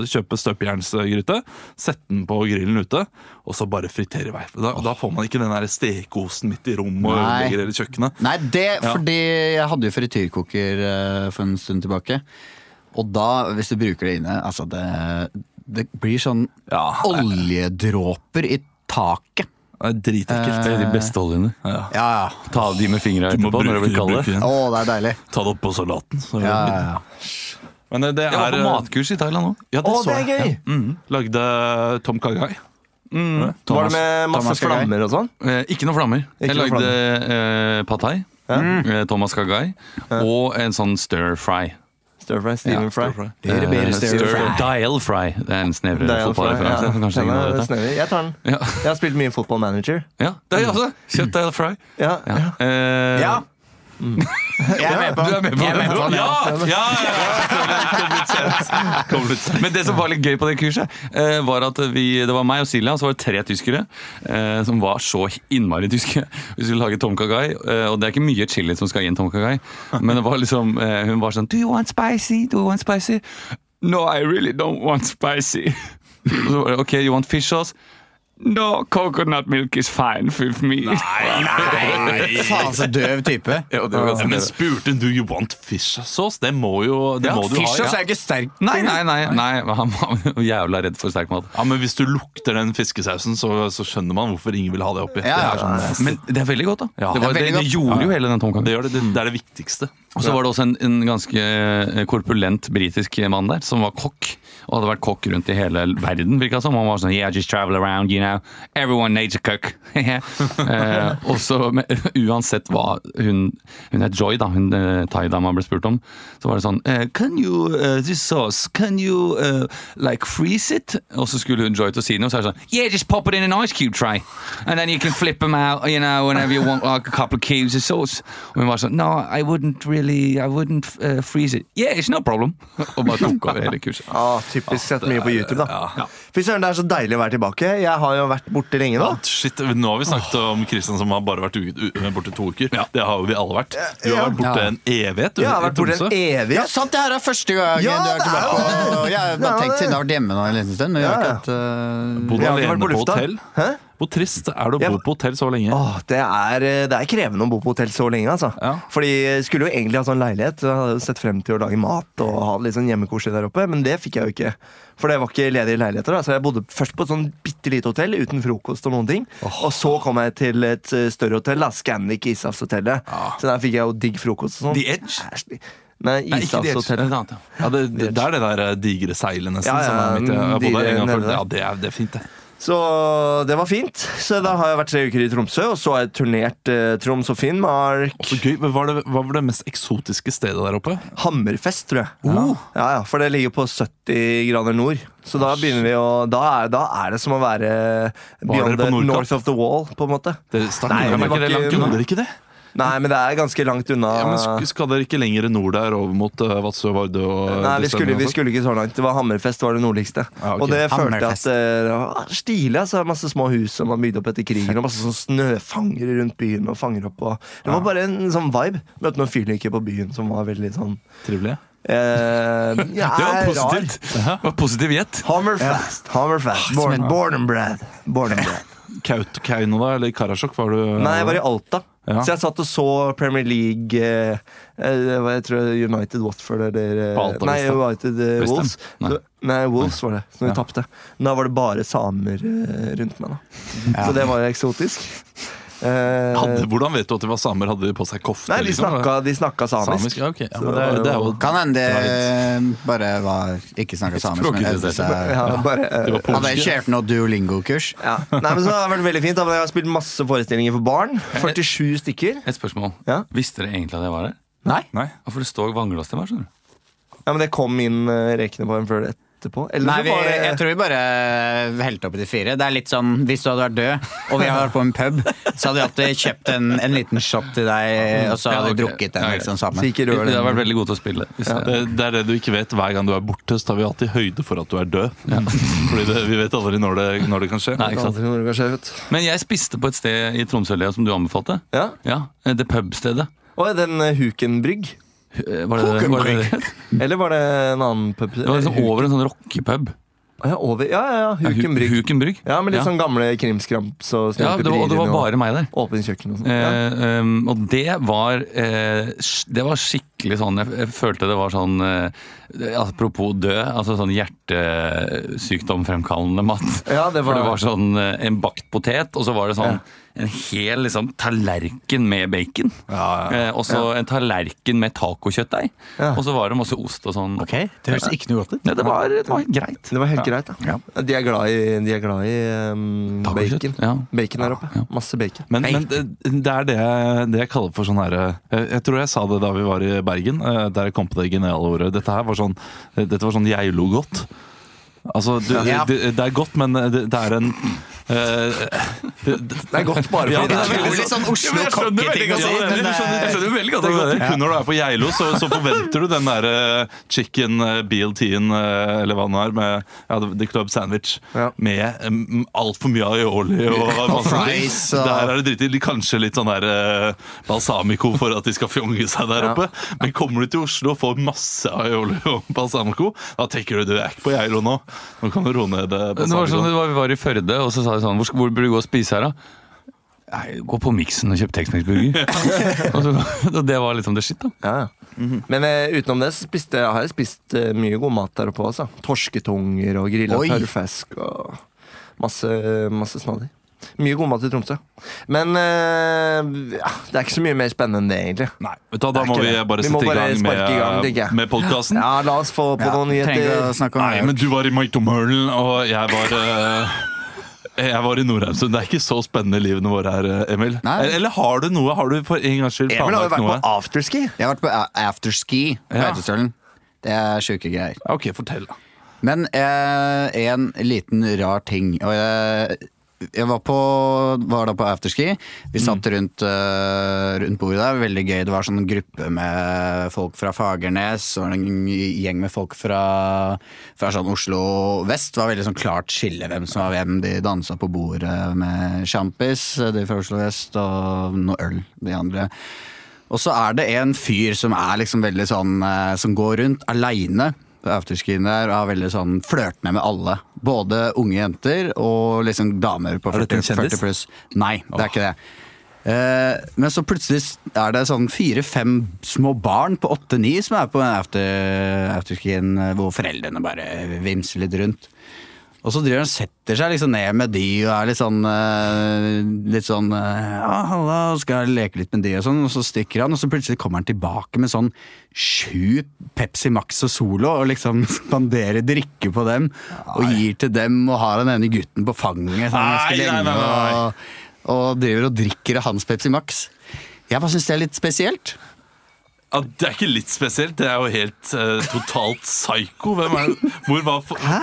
Speaker 1: å kjøpe støpejernsgryte, sette den på grillen ute, og så bare fritere i vei. Da, da får man ikke den der stekeosten midt i rommet og
Speaker 2: Nei.
Speaker 1: ødelegger hele kjøkkenet.
Speaker 2: Nei, det
Speaker 1: Ja.
Speaker 2: fordi jeg hadde jo frityrkoker eh, for en stund tilbake. Og da, hvis du bruker det inne, altså det, det blir sånn
Speaker 1: Ja.
Speaker 2: oljedråper i taket.
Speaker 1: Det er dritekkelt.
Speaker 4: Det er de beste oljene.
Speaker 2: Ja, ja.
Speaker 4: Ta av de med fingra
Speaker 1: Du må
Speaker 4: etterpå når det
Speaker 1: bruke,
Speaker 4: blir kalde.
Speaker 1: bruke den.
Speaker 2: Å, det er deilig.
Speaker 1: Ta det oppå salaten. Så er det
Speaker 2: Ja, ja,
Speaker 1: nydelig.
Speaker 2: ja.
Speaker 1: Men det, det
Speaker 4: Jeg var
Speaker 1: er eh,
Speaker 4: på matkurs i Thailand òg.
Speaker 1: Ja, det
Speaker 3: Å,
Speaker 1: så
Speaker 3: det er
Speaker 1: jeg.
Speaker 3: gøy!
Speaker 1: Lagde eh, Tom Kagai.
Speaker 3: Var det med masse
Speaker 2: Thomas er gøy.
Speaker 3: flammer og sånn?
Speaker 4: Eh, ikke noe flammer.
Speaker 3: Ikke
Speaker 4: jeg
Speaker 3: noe
Speaker 4: lagde eh, pad thai, eh, Thomas Kagai, og en sånn stir fry.
Speaker 3: Stir fry, steam and fry.
Speaker 2: Dyre,
Speaker 4: Eh,
Speaker 2: bedre, større.
Speaker 4: Dial fry. Det er en
Speaker 3: Det
Speaker 4: snevrere
Speaker 3: er ja.
Speaker 4: fotballreferanse. som kanskje
Speaker 3: Den er
Speaker 4: ingen har hørt.
Speaker 3: snedig. Jeg tar den.
Speaker 4: Ja.
Speaker 3: Jeg har spilt mye Football Manager.
Speaker 4: ja, det er jeg også. Kjøpt dial fry.
Speaker 3: Ja,
Speaker 4: Ja.
Speaker 3: ja.
Speaker 4: Eh,
Speaker 2: Ja. Jeg er med på
Speaker 4: Du er med på
Speaker 2: Jeg
Speaker 4: det?
Speaker 2: den, ja.
Speaker 4: ja, ja, ja. Men det som var litt gøy på det kurset, eh, var at vi, det var meg og Silja, og så var det tre tyskere eh, som var så innmari tyske. Vi skulle lage tomkagai, eh, og det er ikke mye chili som skal i en tomkagai, men det var liksom, eh, hun var sånn Do you want spicy? Do you want spicy? No, I really don't want spicy. Og så var det, ok, you want fish sauce? No, coconut milk is fine with me.
Speaker 2: Faen, altså, så døv type.
Speaker 4: Ja, det var ganske
Speaker 1: Men
Speaker 4: gøy.
Speaker 1: spurte hun do you want fish sauce? Det må jo det
Speaker 4: Ja,
Speaker 1: må du ha.
Speaker 4: fish
Speaker 1: ja.
Speaker 4: sauce
Speaker 2: jo ikke sterk.
Speaker 4: Nei, nei, nei, nei, han var jævla redd for sterk mat.
Speaker 1: Ja, men Hvis du lukter den fiskesausen, så, så skjønner man hvorfor ingen vil ha det oppi.
Speaker 2: Ja, ja,
Speaker 1: Det, er sånn,
Speaker 4: Men det er veldig godt, da.
Speaker 1: Ja.
Speaker 4: det, var,
Speaker 2: Det
Speaker 4: det,
Speaker 2: er veldig
Speaker 4: det,
Speaker 2: godt.
Speaker 4: gjorde jo hele den
Speaker 1: det,
Speaker 4: tomkaken.
Speaker 1: gjør det, det, det er det viktigste.
Speaker 4: Og så var det også en, en ganske eh, korpulent britisk mann der, som var kokk. Og hadde vært kokk rundt i hele verden, virka som. Han var sånn Yeah, I just travel around, you know. Everyone needs a cook. eh, og så, men uansett hva hun Hun het Joy, da, hun eh, thaidama ble spurt om. Så var det sånn eh, Can you eh, this sauce? Can you eh, like freeze it? Og så skulle hun Joy til å si noe, så er det sånn Yeah, just pop it in an ice cube tray. And then you can flip them out, you know, whenever you want like a couple of cubes of sauce. Og hun var sånn, no, I wouldn't really, I wouldn't uh, freeze it. Yeah, it's no problem. Og bare tok over hele kurset.
Speaker 3: Ah, typisk sett mye på YouTube, da. Fy søren, det er så deilig å være tilbake. Jeg har jo vært borte lenge nå.
Speaker 1: Shit, Nå har vi snakket om Kristian som har bare vært u u borte to uker. Det har jo vi alle vært. Du har
Speaker 3: Ja.
Speaker 1: vært borte
Speaker 2: Ja.
Speaker 1: en evighet. du,
Speaker 3: Jeg har
Speaker 1: i
Speaker 3: vært borte
Speaker 1: Tromsø.
Speaker 3: en
Speaker 2: Ja,
Speaker 3: evighet.
Speaker 2: sant, det her er første gangen
Speaker 3: Ja,
Speaker 2: du er
Speaker 3: det er
Speaker 2: tilbake.
Speaker 3: jo
Speaker 2: Og Jeg har
Speaker 3: Det er
Speaker 2: bare
Speaker 3: det.
Speaker 2: tenkt siden jeg har vært hjemme nå en liten stund. Men jeg har
Speaker 3: Ja,
Speaker 2: ikke
Speaker 3: ja.
Speaker 2: hatt eh,
Speaker 1: Bodd
Speaker 3: Jeg har ikke
Speaker 1: alene
Speaker 3: vært på
Speaker 1: på
Speaker 3: lufta.
Speaker 1: hotell.
Speaker 3: Hæ?
Speaker 1: Hvor trist er det å
Speaker 3: Jeg-
Speaker 1: bo på hotell så lenge?
Speaker 3: Åh, det, er, eh, det er krevende å bo på hotell så lenge, altså.
Speaker 1: Ja.
Speaker 3: Fordi jeg skulle jo egentlig ha sånn leilighet. så Jeg hadde jo sett frem til å lage mat og ha det litt sånn hjemmekoselig der oppe, men det fikk jeg jo ikke. For det var ikke ledige leiligheter. da, Så jeg bodde først på et sånn bitte lite hotell uten frokost og noen ting. Og så kom jeg til et eh, større hotell, da, Scandic Ishavshotellet. Så der fikk jeg jo digg frokost og sånn.
Speaker 4: The Edge?
Speaker 3: Æsj, Nei,
Speaker 4: Nei, ikke det, det er
Speaker 3: Ishavshotellet.
Speaker 4: et annet, ja.
Speaker 1: Ja, det, det, det er det der eh, digre seilet, nesten.
Speaker 3: Ja, mm, ja,
Speaker 1: som er mitt, eh, jeg har bodd der en gang
Speaker 3: digre
Speaker 1: før.
Speaker 3: nede.
Speaker 1: Ja, det er, det er fint, det.
Speaker 3: Så det var fint. Så da har jeg vært tre uker i Tromsø, og så har jeg turnert eh, Troms og Finnmark.
Speaker 1: Og så gøy, men Hva var det, hva var det mest eksotiske stedet der oppe?
Speaker 3: Hammerfest, tror jeg.
Speaker 1: Oh.
Speaker 3: Ja, ja, For det ligger på 70 grader nord. Så da begynner vi å Da er, da er det som å være
Speaker 1: dere
Speaker 3: beyond
Speaker 1: på
Speaker 3: the
Speaker 1: Nordkapp?
Speaker 3: north of the wall, på en måte.
Speaker 1: Det startet,
Speaker 3: Nei,
Speaker 1: Nei,
Speaker 3: det
Speaker 1: det
Speaker 3: var
Speaker 1: ikke det
Speaker 3: ikke-
Speaker 1: langt unna. Gjorde dere ikke det?
Speaker 3: Nei, men det er ganske langt unna.
Speaker 1: Ja, men sk- Skal dere ikke lenger nord der, over mot eh, Vadsø, Vardø og
Speaker 3: Nei, vi
Speaker 1: det
Speaker 3: skulle, vi
Speaker 1: stedet?
Speaker 3: skulle ikke så langt. Det var Hammerfest var det nordligste.
Speaker 1: Ja, ok.
Speaker 3: Og det følte jeg at
Speaker 2: Hammerfest.
Speaker 3: eh, det var stilig. Altså, masse små hus som var bygd opp etter krigen, og masse sånn snøfangere rundt byen. Og fanger opp og Det var bare en sånn vibe. Møtte noen fyrlykker på byen som var veldig sånn
Speaker 1: Trivelig.
Speaker 3: eh, ja,
Speaker 4: Det var
Speaker 3: rar.
Speaker 4: positivt. Det var positiv gjett.
Speaker 3: Hammerfest. Hammerfest. Born, born and bred. Born and bred.
Speaker 1: Kautokeino, da? Eller Karasjok? Var du
Speaker 3: Nei, jeg var i Alta.
Speaker 1: Ja.
Speaker 3: Så jeg satt og så Premier League eh, eh, hva- Jeg tror United Watford eller eh,
Speaker 1: På Alta,
Speaker 3: Nei,
Speaker 1: visst da.
Speaker 3: United eh,
Speaker 4: West Ham?
Speaker 3: Wolves.
Speaker 4: Nei.
Speaker 3: Så, nei, Wolves var det, som vi tapte. Da var det bare samer eh, rundt meg, da. Så det var jo eksotisk. Eh,
Speaker 1: hadde, hvordan vet du at de var samer? Hadde de på seg kofte?
Speaker 3: nei, de
Speaker 1: liksom?
Speaker 3: snakka, de snakka samisk.
Speaker 1: samisk. Ja, ok. ja, men det, er- det er jo
Speaker 2: Kan hende det bare var ikke snakka samisk, men øvde seg.
Speaker 3: Ja, bare, eh,
Speaker 1: det var
Speaker 2: Hadde
Speaker 1: polske.
Speaker 2: kjørt noe duolingo-kurs.
Speaker 3: ja. Nei, men så har det vært veldig fint. Da. men Jeg har spilt masse forestillinger for barn. 47 stykker.
Speaker 4: Et spørsmål.
Speaker 3: Ja.
Speaker 4: Visste dere egentlig at jeg var her?
Speaker 3: Nei.
Speaker 1: Nei.
Speaker 4: Hvorfor det står vannglass til meg? skjønner du?
Speaker 3: Ja, men det kom inn eh, rekene på en før eller etterpå. Eller
Speaker 2: Nei,
Speaker 3: så
Speaker 2: vi,
Speaker 3: var det-
Speaker 2: jeg tror vi bare helte opp i de fire. Det er litt sånn, Hvis du hadde vært død, og vi hadde vært på en pub, så hadde vi alltid kjøpt en, en liten shot til deg, og så hadde vi
Speaker 4: Ja, ok.
Speaker 2: drukket den
Speaker 4: Ja, greit.
Speaker 2: liksom
Speaker 3: Så
Speaker 2: sammen.
Speaker 3: ikke rør
Speaker 4: Det
Speaker 3: den.
Speaker 4: har vært veldig god til å spille. Hvis
Speaker 1: Det,
Speaker 4: det-
Speaker 1: det er det du ikke vet hver gang du er borte. Så tar vi alltid høyde for at du er død. Fordi det, vi vet aldri når det, når det kan skje.
Speaker 4: Nei, ikke sant?
Speaker 3: Aldri når det kan skje, vet du.
Speaker 4: Men jeg spiste på et sted i Tromsø Lea, som du anbefalte.
Speaker 3: Ja.
Speaker 4: Ja, Det pubstedet.
Speaker 3: Og den eh, Hukenbrygg.
Speaker 4: Eh, Var det det? Var det, det?
Speaker 3: Eller var det en annen pub?
Speaker 4: det var liksom over en sånn rockepub.
Speaker 3: Ja, over. ja, ja, ja.
Speaker 4: Ja, Hu-
Speaker 3: Hukenbrygg.
Speaker 4: Hukenbrygg.
Speaker 3: Ja, med litt
Speaker 4: Ja.
Speaker 3: sånn gamle krimskrams og
Speaker 4: Ja, det var, og det var bare meg der.
Speaker 3: åpen kjøkken og sånn. Ja.
Speaker 4: Eh, ehm, og det var eh, sk- Det var skikkelig sånn Jeg, jeg følte det var sånn eh, Apropos død, altså sånn hjertesykdomfremkallende mat.
Speaker 3: Ja, det var-
Speaker 4: For det var sånn eh, en bakt potet, og så var det sånn en hel liksom, tallerken med bacon.
Speaker 1: Ja, ja.
Speaker 4: Eh, og så en tallerken med tacokjøttdeig.
Speaker 3: Ja.
Speaker 4: Og så var det masse ost og sånn.
Speaker 2: Ok, Det høres ikke noe godt ut.
Speaker 4: Ja, det, var, det var greit.
Speaker 3: Det var helt greit, da. De er glad i, de er glad i ehm,
Speaker 4: Tacokjøtt,
Speaker 3: bacon.
Speaker 4: ja.
Speaker 3: Bacon der oppe. Masse bacon.
Speaker 1: Men, men det, det er det jeg, det jeg kaller for sånn herre jeg, jeg tror jeg sa det da vi var i Bergen, eh, der jeg kom på det geniale ordet. Dette her var sånn, dette var sånn jeg lo godt. Altså, du,
Speaker 2: Ja.
Speaker 1: det, det er godt, men det, det er en eh, det, det,
Speaker 3: Det er godt bare fordi
Speaker 1: Ja,
Speaker 3: det
Speaker 1: det
Speaker 3: er
Speaker 1: er
Speaker 2: veldig sånn Oslo-kokketing å si, men
Speaker 1: Ja, det-
Speaker 2: det er- sånn-
Speaker 1: jeg skjønner veldig godt hva du mener. Kun når du er på Geilo, så, så forventer du den der eh, chicken eh, BLT-en, eh, eller hva det nå er, med ja, the- the club sandwich,
Speaker 3: Ja.
Speaker 1: med um, altfor mye aioli og, masse
Speaker 2: fries,
Speaker 1: ting.
Speaker 2: og-
Speaker 1: Der er det dritt i. Kanskje litt sånn der eh, balsamico for at de skal fjonge seg der oppe. Men kommer du til Oslo og får masse aioli og balsamico, da tenker du du er ikke på Geilo nå. Nå kan du roe ned eh,
Speaker 4: Det var sånn,
Speaker 1: balsamicoen.
Speaker 4: det var, Vi var i Førde, og så sa de sånn Hvor, hvor burde du gå og spise her, da? Nei, Gå på Mixen og kjøp Tex-Mex-burger. og, så- og det var liksom det shit, da.
Speaker 3: Ja, ja.
Speaker 2: Mhm.
Speaker 3: Men eh, utenom det så spiste, jeg- har jeg spist eh, mye god mat der oppe også. Torsketunger og grilla
Speaker 2: Oi.
Speaker 3: tørrfisk og masse, masse snadder. Mye god mat i Tromsø. Men eh, ja, det er ikke så mye mer spennende enn det, egentlig.
Speaker 1: Nei, vet du, hva, da
Speaker 3: Det er
Speaker 1: må
Speaker 3: ikke
Speaker 1: vi
Speaker 3: det.
Speaker 1: bare
Speaker 3: Vi må
Speaker 1: sette i
Speaker 3: bare
Speaker 1: gang
Speaker 3: sparke i gang,
Speaker 1: med,
Speaker 3: tenker jeg.
Speaker 1: med podkasten.
Speaker 3: Ja, la oss få på
Speaker 2: Ja,
Speaker 3: noen
Speaker 2: trenger å
Speaker 3: nyheter.
Speaker 2: snakke om
Speaker 1: Nei, men du var i McDonald's, og jeg var eh, Jeg var i Nordheimsund. Det er ikke så spennende livene våre her, eh, Emil.
Speaker 2: Nei.
Speaker 1: Eller har du noe? Har du for en gangs skyld
Speaker 3: Emil har jo
Speaker 1: planlagt
Speaker 3: vært
Speaker 1: noe?
Speaker 3: på afterski.
Speaker 2: Jeg har vært på a- afterski på
Speaker 1: Ja.
Speaker 2: Beitostølen. Det er sjuke greier.
Speaker 1: Ok, fortell, da.
Speaker 2: Men eh, en liten rar ting. Og jeg, jeg var, på, var da på afterski. Vi satt rundt, eh, rundt bordet der. Veldig gøy. Det var sånn gruppe med folk fra Fagernes og en gjeng med folk fra, fra sånn Oslo vest. Det var veldig sånn klart skille hvem som var hvem. De dansa på bordet med sjampis, de fra Oslo vest, og noe øl, de andre. Og så er det en fyr som er liksom veldig sånn eh, Som går rundt aleine på afterskien der og er veldig sånn flørtende med alle. Både unge jenter og liksom damer på
Speaker 1: Er dette en
Speaker 2: 40, 40 pluss. Nei, det er ikke det. Eh, men så plutselig er det sånn fire-fem små barn på åtte-ni som er på after, afterskien eh, hvor foreldrene bare vimser litt rundt. Og så driver han og setter seg liksom ned med de og er litt sånn eh, Litt sånn eh, Ja, halla, og skal leke litt med de og sånn, og så stikker han, og så plutselig kommer han tilbake med sånn sju Pepsi Max og Solo og liksom spanderer drikke på dem og gir til dem og har den ene gutten på fanget sånn ganske
Speaker 1: Nei, nei, nei,
Speaker 2: lenge
Speaker 1: nei.
Speaker 2: og, og driver og drikker av hans Pepsi Max. Jeg bare syns det er litt spesielt.
Speaker 1: Ja, det er ikke litt spesielt. Det er jo helt eh, totalt psyko. Hvem er det? Hvor var Hæ?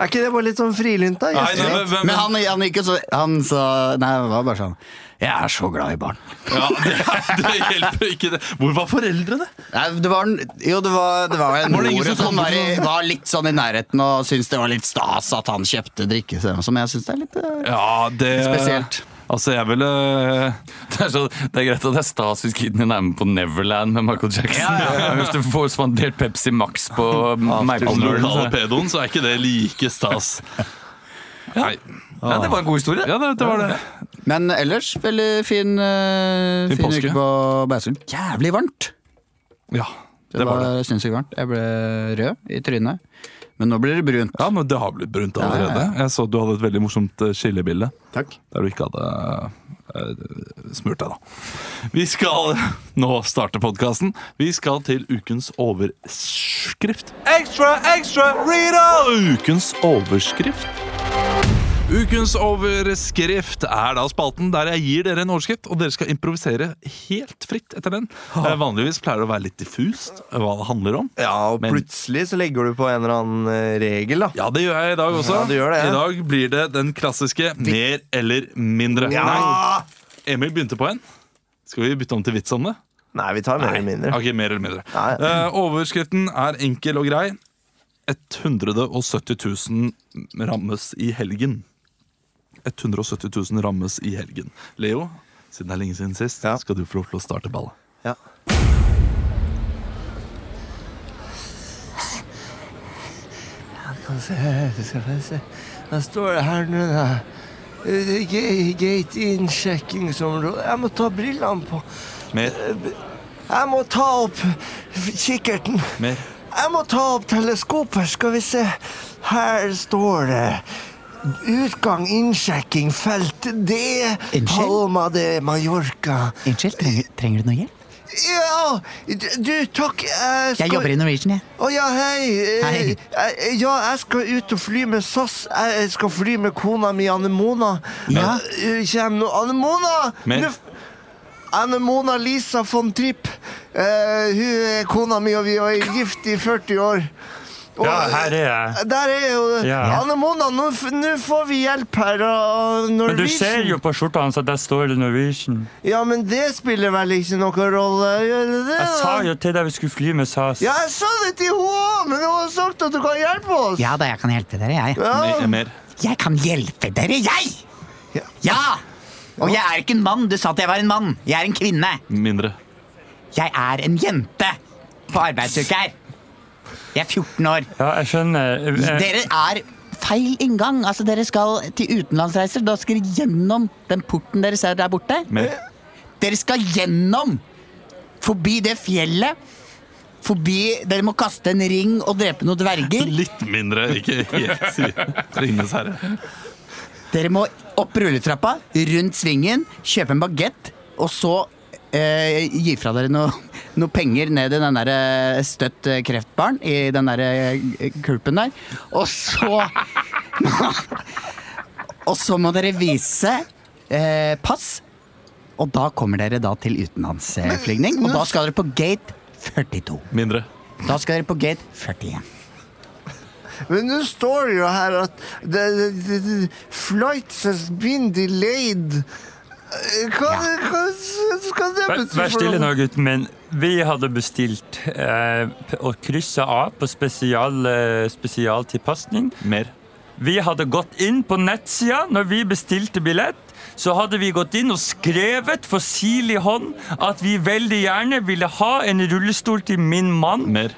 Speaker 3: Er ikke det bare litt sånn frilynt, da?
Speaker 1: Nei, nei,
Speaker 3: Gjestfritt.
Speaker 1: men- men-
Speaker 2: Men han, han gikk jo så Han sa Nei, det var bare sånn Jeg er så glad i barn.
Speaker 1: Ja, det, det hjelper ikke det. Hvor var foreldrene?
Speaker 2: Nei, det var en, jo, det var, det var en
Speaker 1: Var det ingen
Speaker 2: mor
Speaker 1: som
Speaker 2: som
Speaker 1: kom
Speaker 2: var, i,
Speaker 1: på-
Speaker 2: var litt sånn i nærheten og syntes det var litt stas at han kjøpte drikke, som jeg syns er litt eh,
Speaker 1: Ja, det
Speaker 2: Spesielt.
Speaker 1: Altså, jeg ville
Speaker 4: Det er, så, det er greit at det er stas hvis kiden din er med på Neverland med Michael Jackson. Hvis du får spandert Pepsi Max på
Speaker 1: Om
Speaker 4: Maipoløren.
Speaker 1: lokale pedoen, så er ikke det like stas. Nei.
Speaker 4: Ja, det var en god historie.
Speaker 1: Ja, det, det var det.
Speaker 2: Men ellers veldig fin, eh,
Speaker 1: Fin
Speaker 2: fin,
Speaker 1: påske.
Speaker 2: uke på Beisund. Jævlig varmt!
Speaker 1: Ja,
Speaker 2: Det, var, sinnssykt varmt. Jeg ble rød i trynet. Men nå blir det brunt.
Speaker 1: Ja, men det har blitt brunt
Speaker 2: Ja,
Speaker 1: allerede.
Speaker 2: ja,
Speaker 1: Jeg så du hadde et veldig morsomt eh, skillebilde
Speaker 2: Takk.
Speaker 1: der du ikke hadde eh, smurt deg, da. Vi skal nå starte podkasten. Vi skal til ukens overskrift. Ekstra, ekstra, Rita! Ukens overskrift. Ukens overskrift er da spalten der jeg gir dere en overskrift, og dere skal improvisere helt fritt etter den. Eh, Vanligvis pleier det å være litt diffust eh, hva det handler om.
Speaker 3: Ja, og
Speaker 1: Men-
Speaker 3: plutselig så legger du på en eller annen eh, regel, da.
Speaker 1: Ja, det gjør jeg i dag også.
Speaker 3: Ja, du gjør det, ja.
Speaker 1: I dag blir det den klassiske mer eller mindre.
Speaker 3: Ja!
Speaker 1: Nei, Emil begynte på en. Skal vi bytte om til vits om det?
Speaker 3: Nei, vi tar mer eller mindre.
Speaker 1: Ok, mer eller mindre.
Speaker 3: Nei.
Speaker 1: Eh, overskriften er enkel og grei. 170 000 rammes i helgen. 170 000 rammes i helgen. Leo, siden det er lenge siden sist,
Speaker 3: Ja.
Speaker 1: skal du få lov til å starte ballet.
Speaker 3: Ja. Kan se her, det skal jeg se. Da står det her nå, da. Eh, ga- Gate-innsjekkingsområde. Jeg må ta brillene på.
Speaker 1: Mer,
Speaker 3: Jeg må ta opp kikkerten.
Speaker 1: mer.
Speaker 3: Jeg må ta opp teleskopet. Skal vi se. Her står det Utgang, innsjekking, felt D.
Speaker 5: Unnskyld?
Speaker 3: Palma de Mallorca.
Speaker 5: Unnskyld, trenger, trenger du noe hjelp?
Speaker 3: Ja, d- du, takk. Jeg, skal...
Speaker 5: Jeg jobber i Norwegian, jeg.
Speaker 3: Å ja, hei. Eh,
Speaker 5: Hei.
Speaker 3: eh, Ja, jeg skal ut og fly med SAS. Jeg jeg skal fly med kona mi, Anne Mona.
Speaker 1: Ja.
Speaker 3: Eh, Kjem nå Anne Mona!
Speaker 1: Men-
Speaker 3: Nå f- Anne Mona Lisa von Tripp. Eh, hun er kona mi, og vi er gift i 40 år. Og,
Speaker 1: er jeg.
Speaker 3: Der er jo
Speaker 1: Ja.
Speaker 3: Anne Mona, nå f- nå får vi hjelp her av Norwegian.
Speaker 4: på skjorta hans at der står det Norwegian.
Speaker 3: Ja, men det spiller vel ikke noen rolle? Gjør det det? da?
Speaker 4: jo til deg vi skulle fly med SAS.
Speaker 3: Ja, jeg sa det til henne òg, men hun har sagt at du kan hjelpe oss.
Speaker 5: Ja da, jeg kan hjelpe dere, jeg.
Speaker 1: Mer,
Speaker 3: Ja.
Speaker 1: mer.
Speaker 5: Jeg kan hjelpe dere, jeg!
Speaker 3: Ja.
Speaker 5: Ja! Og jeg er ikke en mann. Du sa at jeg var en mann. Jeg er en kvinne.
Speaker 1: Mindre.
Speaker 5: Jeg er en jente på arbeidsuke her. Jeg er 14 år.
Speaker 6: Ja, jeg skjønner. Jeg,
Speaker 5: Dere er feil inngang. Altså, dere skal til utenlandsreiser. Da skal dere gjennom den porten dere ser der borte.
Speaker 1: Mer.
Speaker 5: Dere skal gjennom Forbi det fjellet Forbi, dere må kaste en ring og drepe noen dverger
Speaker 1: Litt mindre, ikke helt si. Ringenes herre.
Speaker 5: Dere må opp rulletrappa, rundt svingen Kjøpe en bagett Og så eh, gi fra dere noe, noe penger ned i den der eh, støtt eh, kreftbarn I den der eh, kulpen der Og så Og så må dere vise eh, pass Og da kommer dere da til utenlandsflygning Og da skal dere på gate 42
Speaker 1: Mindre.
Speaker 5: Da skal dere på gate 41.
Speaker 3: Men nå står det jo her at the, the, the, the flights has been delayed. Eh, Hva, hva s- skal det
Speaker 6: vær,
Speaker 3: bety?
Speaker 6: vær
Speaker 3: for
Speaker 6: stille
Speaker 3: noe?
Speaker 6: nå, gutten min. Vi hadde bestilt eh, p- å krysse av på spesial, eh, spesialtilpasning.
Speaker 1: Mer.
Speaker 6: Vi hadde gått inn på nettsida når vi bestilte billett. Så hadde vi gått inn og skrevet for sil i hånd at vi veldig gjerne ville ha en rullestol til min mann.
Speaker 1: Mer.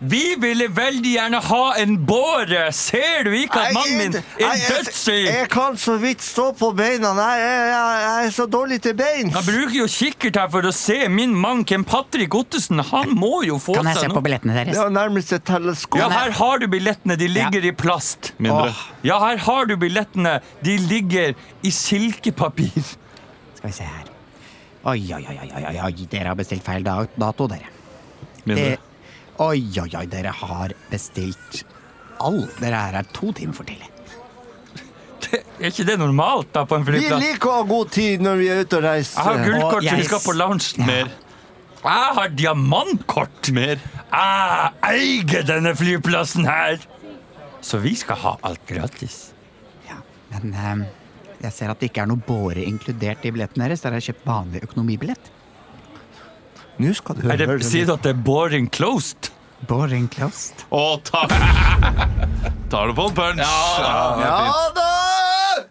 Speaker 6: Vi ville veldig gjerne ha en båre! Ser du ikke
Speaker 3: Nei,
Speaker 6: at mannen min
Speaker 3: jeg-
Speaker 6: er
Speaker 3: jeg- Jeg,
Speaker 6: dødssyk?
Speaker 3: jeg kan så vidt stå på beina. Nei, jeg, jeg, jeg er så dårlig til beins.
Speaker 6: Han bruker jo kikkert her for å se min mann Ken Patrick Ottesen. Han må jo få
Speaker 5: Kan jeg
Speaker 6: seg
Speaker 5: se
Speaker 6: noe.
Speaker 5: på billettene
Speaker 3: Det
Speaker 5: deres?
Speaker 3: er jo nærmest et teleskop.
Speaker 6: Ja, her har du billettene. De ligger i plast. Ah.
Speaker 1: Mindre.
Speaker 6: Ja, her har du billettene. De ligger i silkepapir.
Speaker 5: Skal vi se her. Oi, oi, oi, oi, oi, oi. dere har bestilt feil da- dato, dere.
Speaker 1: Mindre.
Speaker 5: Det- Oi, oi, oi, dere har bestilt all. Dere her er to timer for tidlig.
Speaker 6: Det, er ikke det normalt da på en
Speaker 3: Vi
Speaker 6: flyplass?
Speaker 3: liker å ha god tid når vi er ute og
Speaker 6: Jeg har
Speaker 3: reiser.
Speaker 6: gullkort,
Speaker 5: Og
Speaker 6: så vi
Speaker 5: jeg-
Speaker 6: skal på loungen.
Speaker 1: Mer.
Speaker 6: Jeg har diamantkort. Ah,
Speaker 1: Mer.
Speaker 6: Jeg eier denne flyplassen her. Så vi skal ha alt gratis.
Speaker 2: Ja, men
Speaker 5: ehm,
Speaker 2: eh, jeg ser at det ikke er noe båre inkludert i billetten deres. Dere har kjøpt vanlig økonomibillett.
Speaker 3: Nå skal du
Speaker 6: Er det,
Speaker 3: høre
Speaker 6: sier du at det er boring closed?
Speaker 2: Boring closed.
Speaker 1: Å, takk! Tar det på en punch. Ja,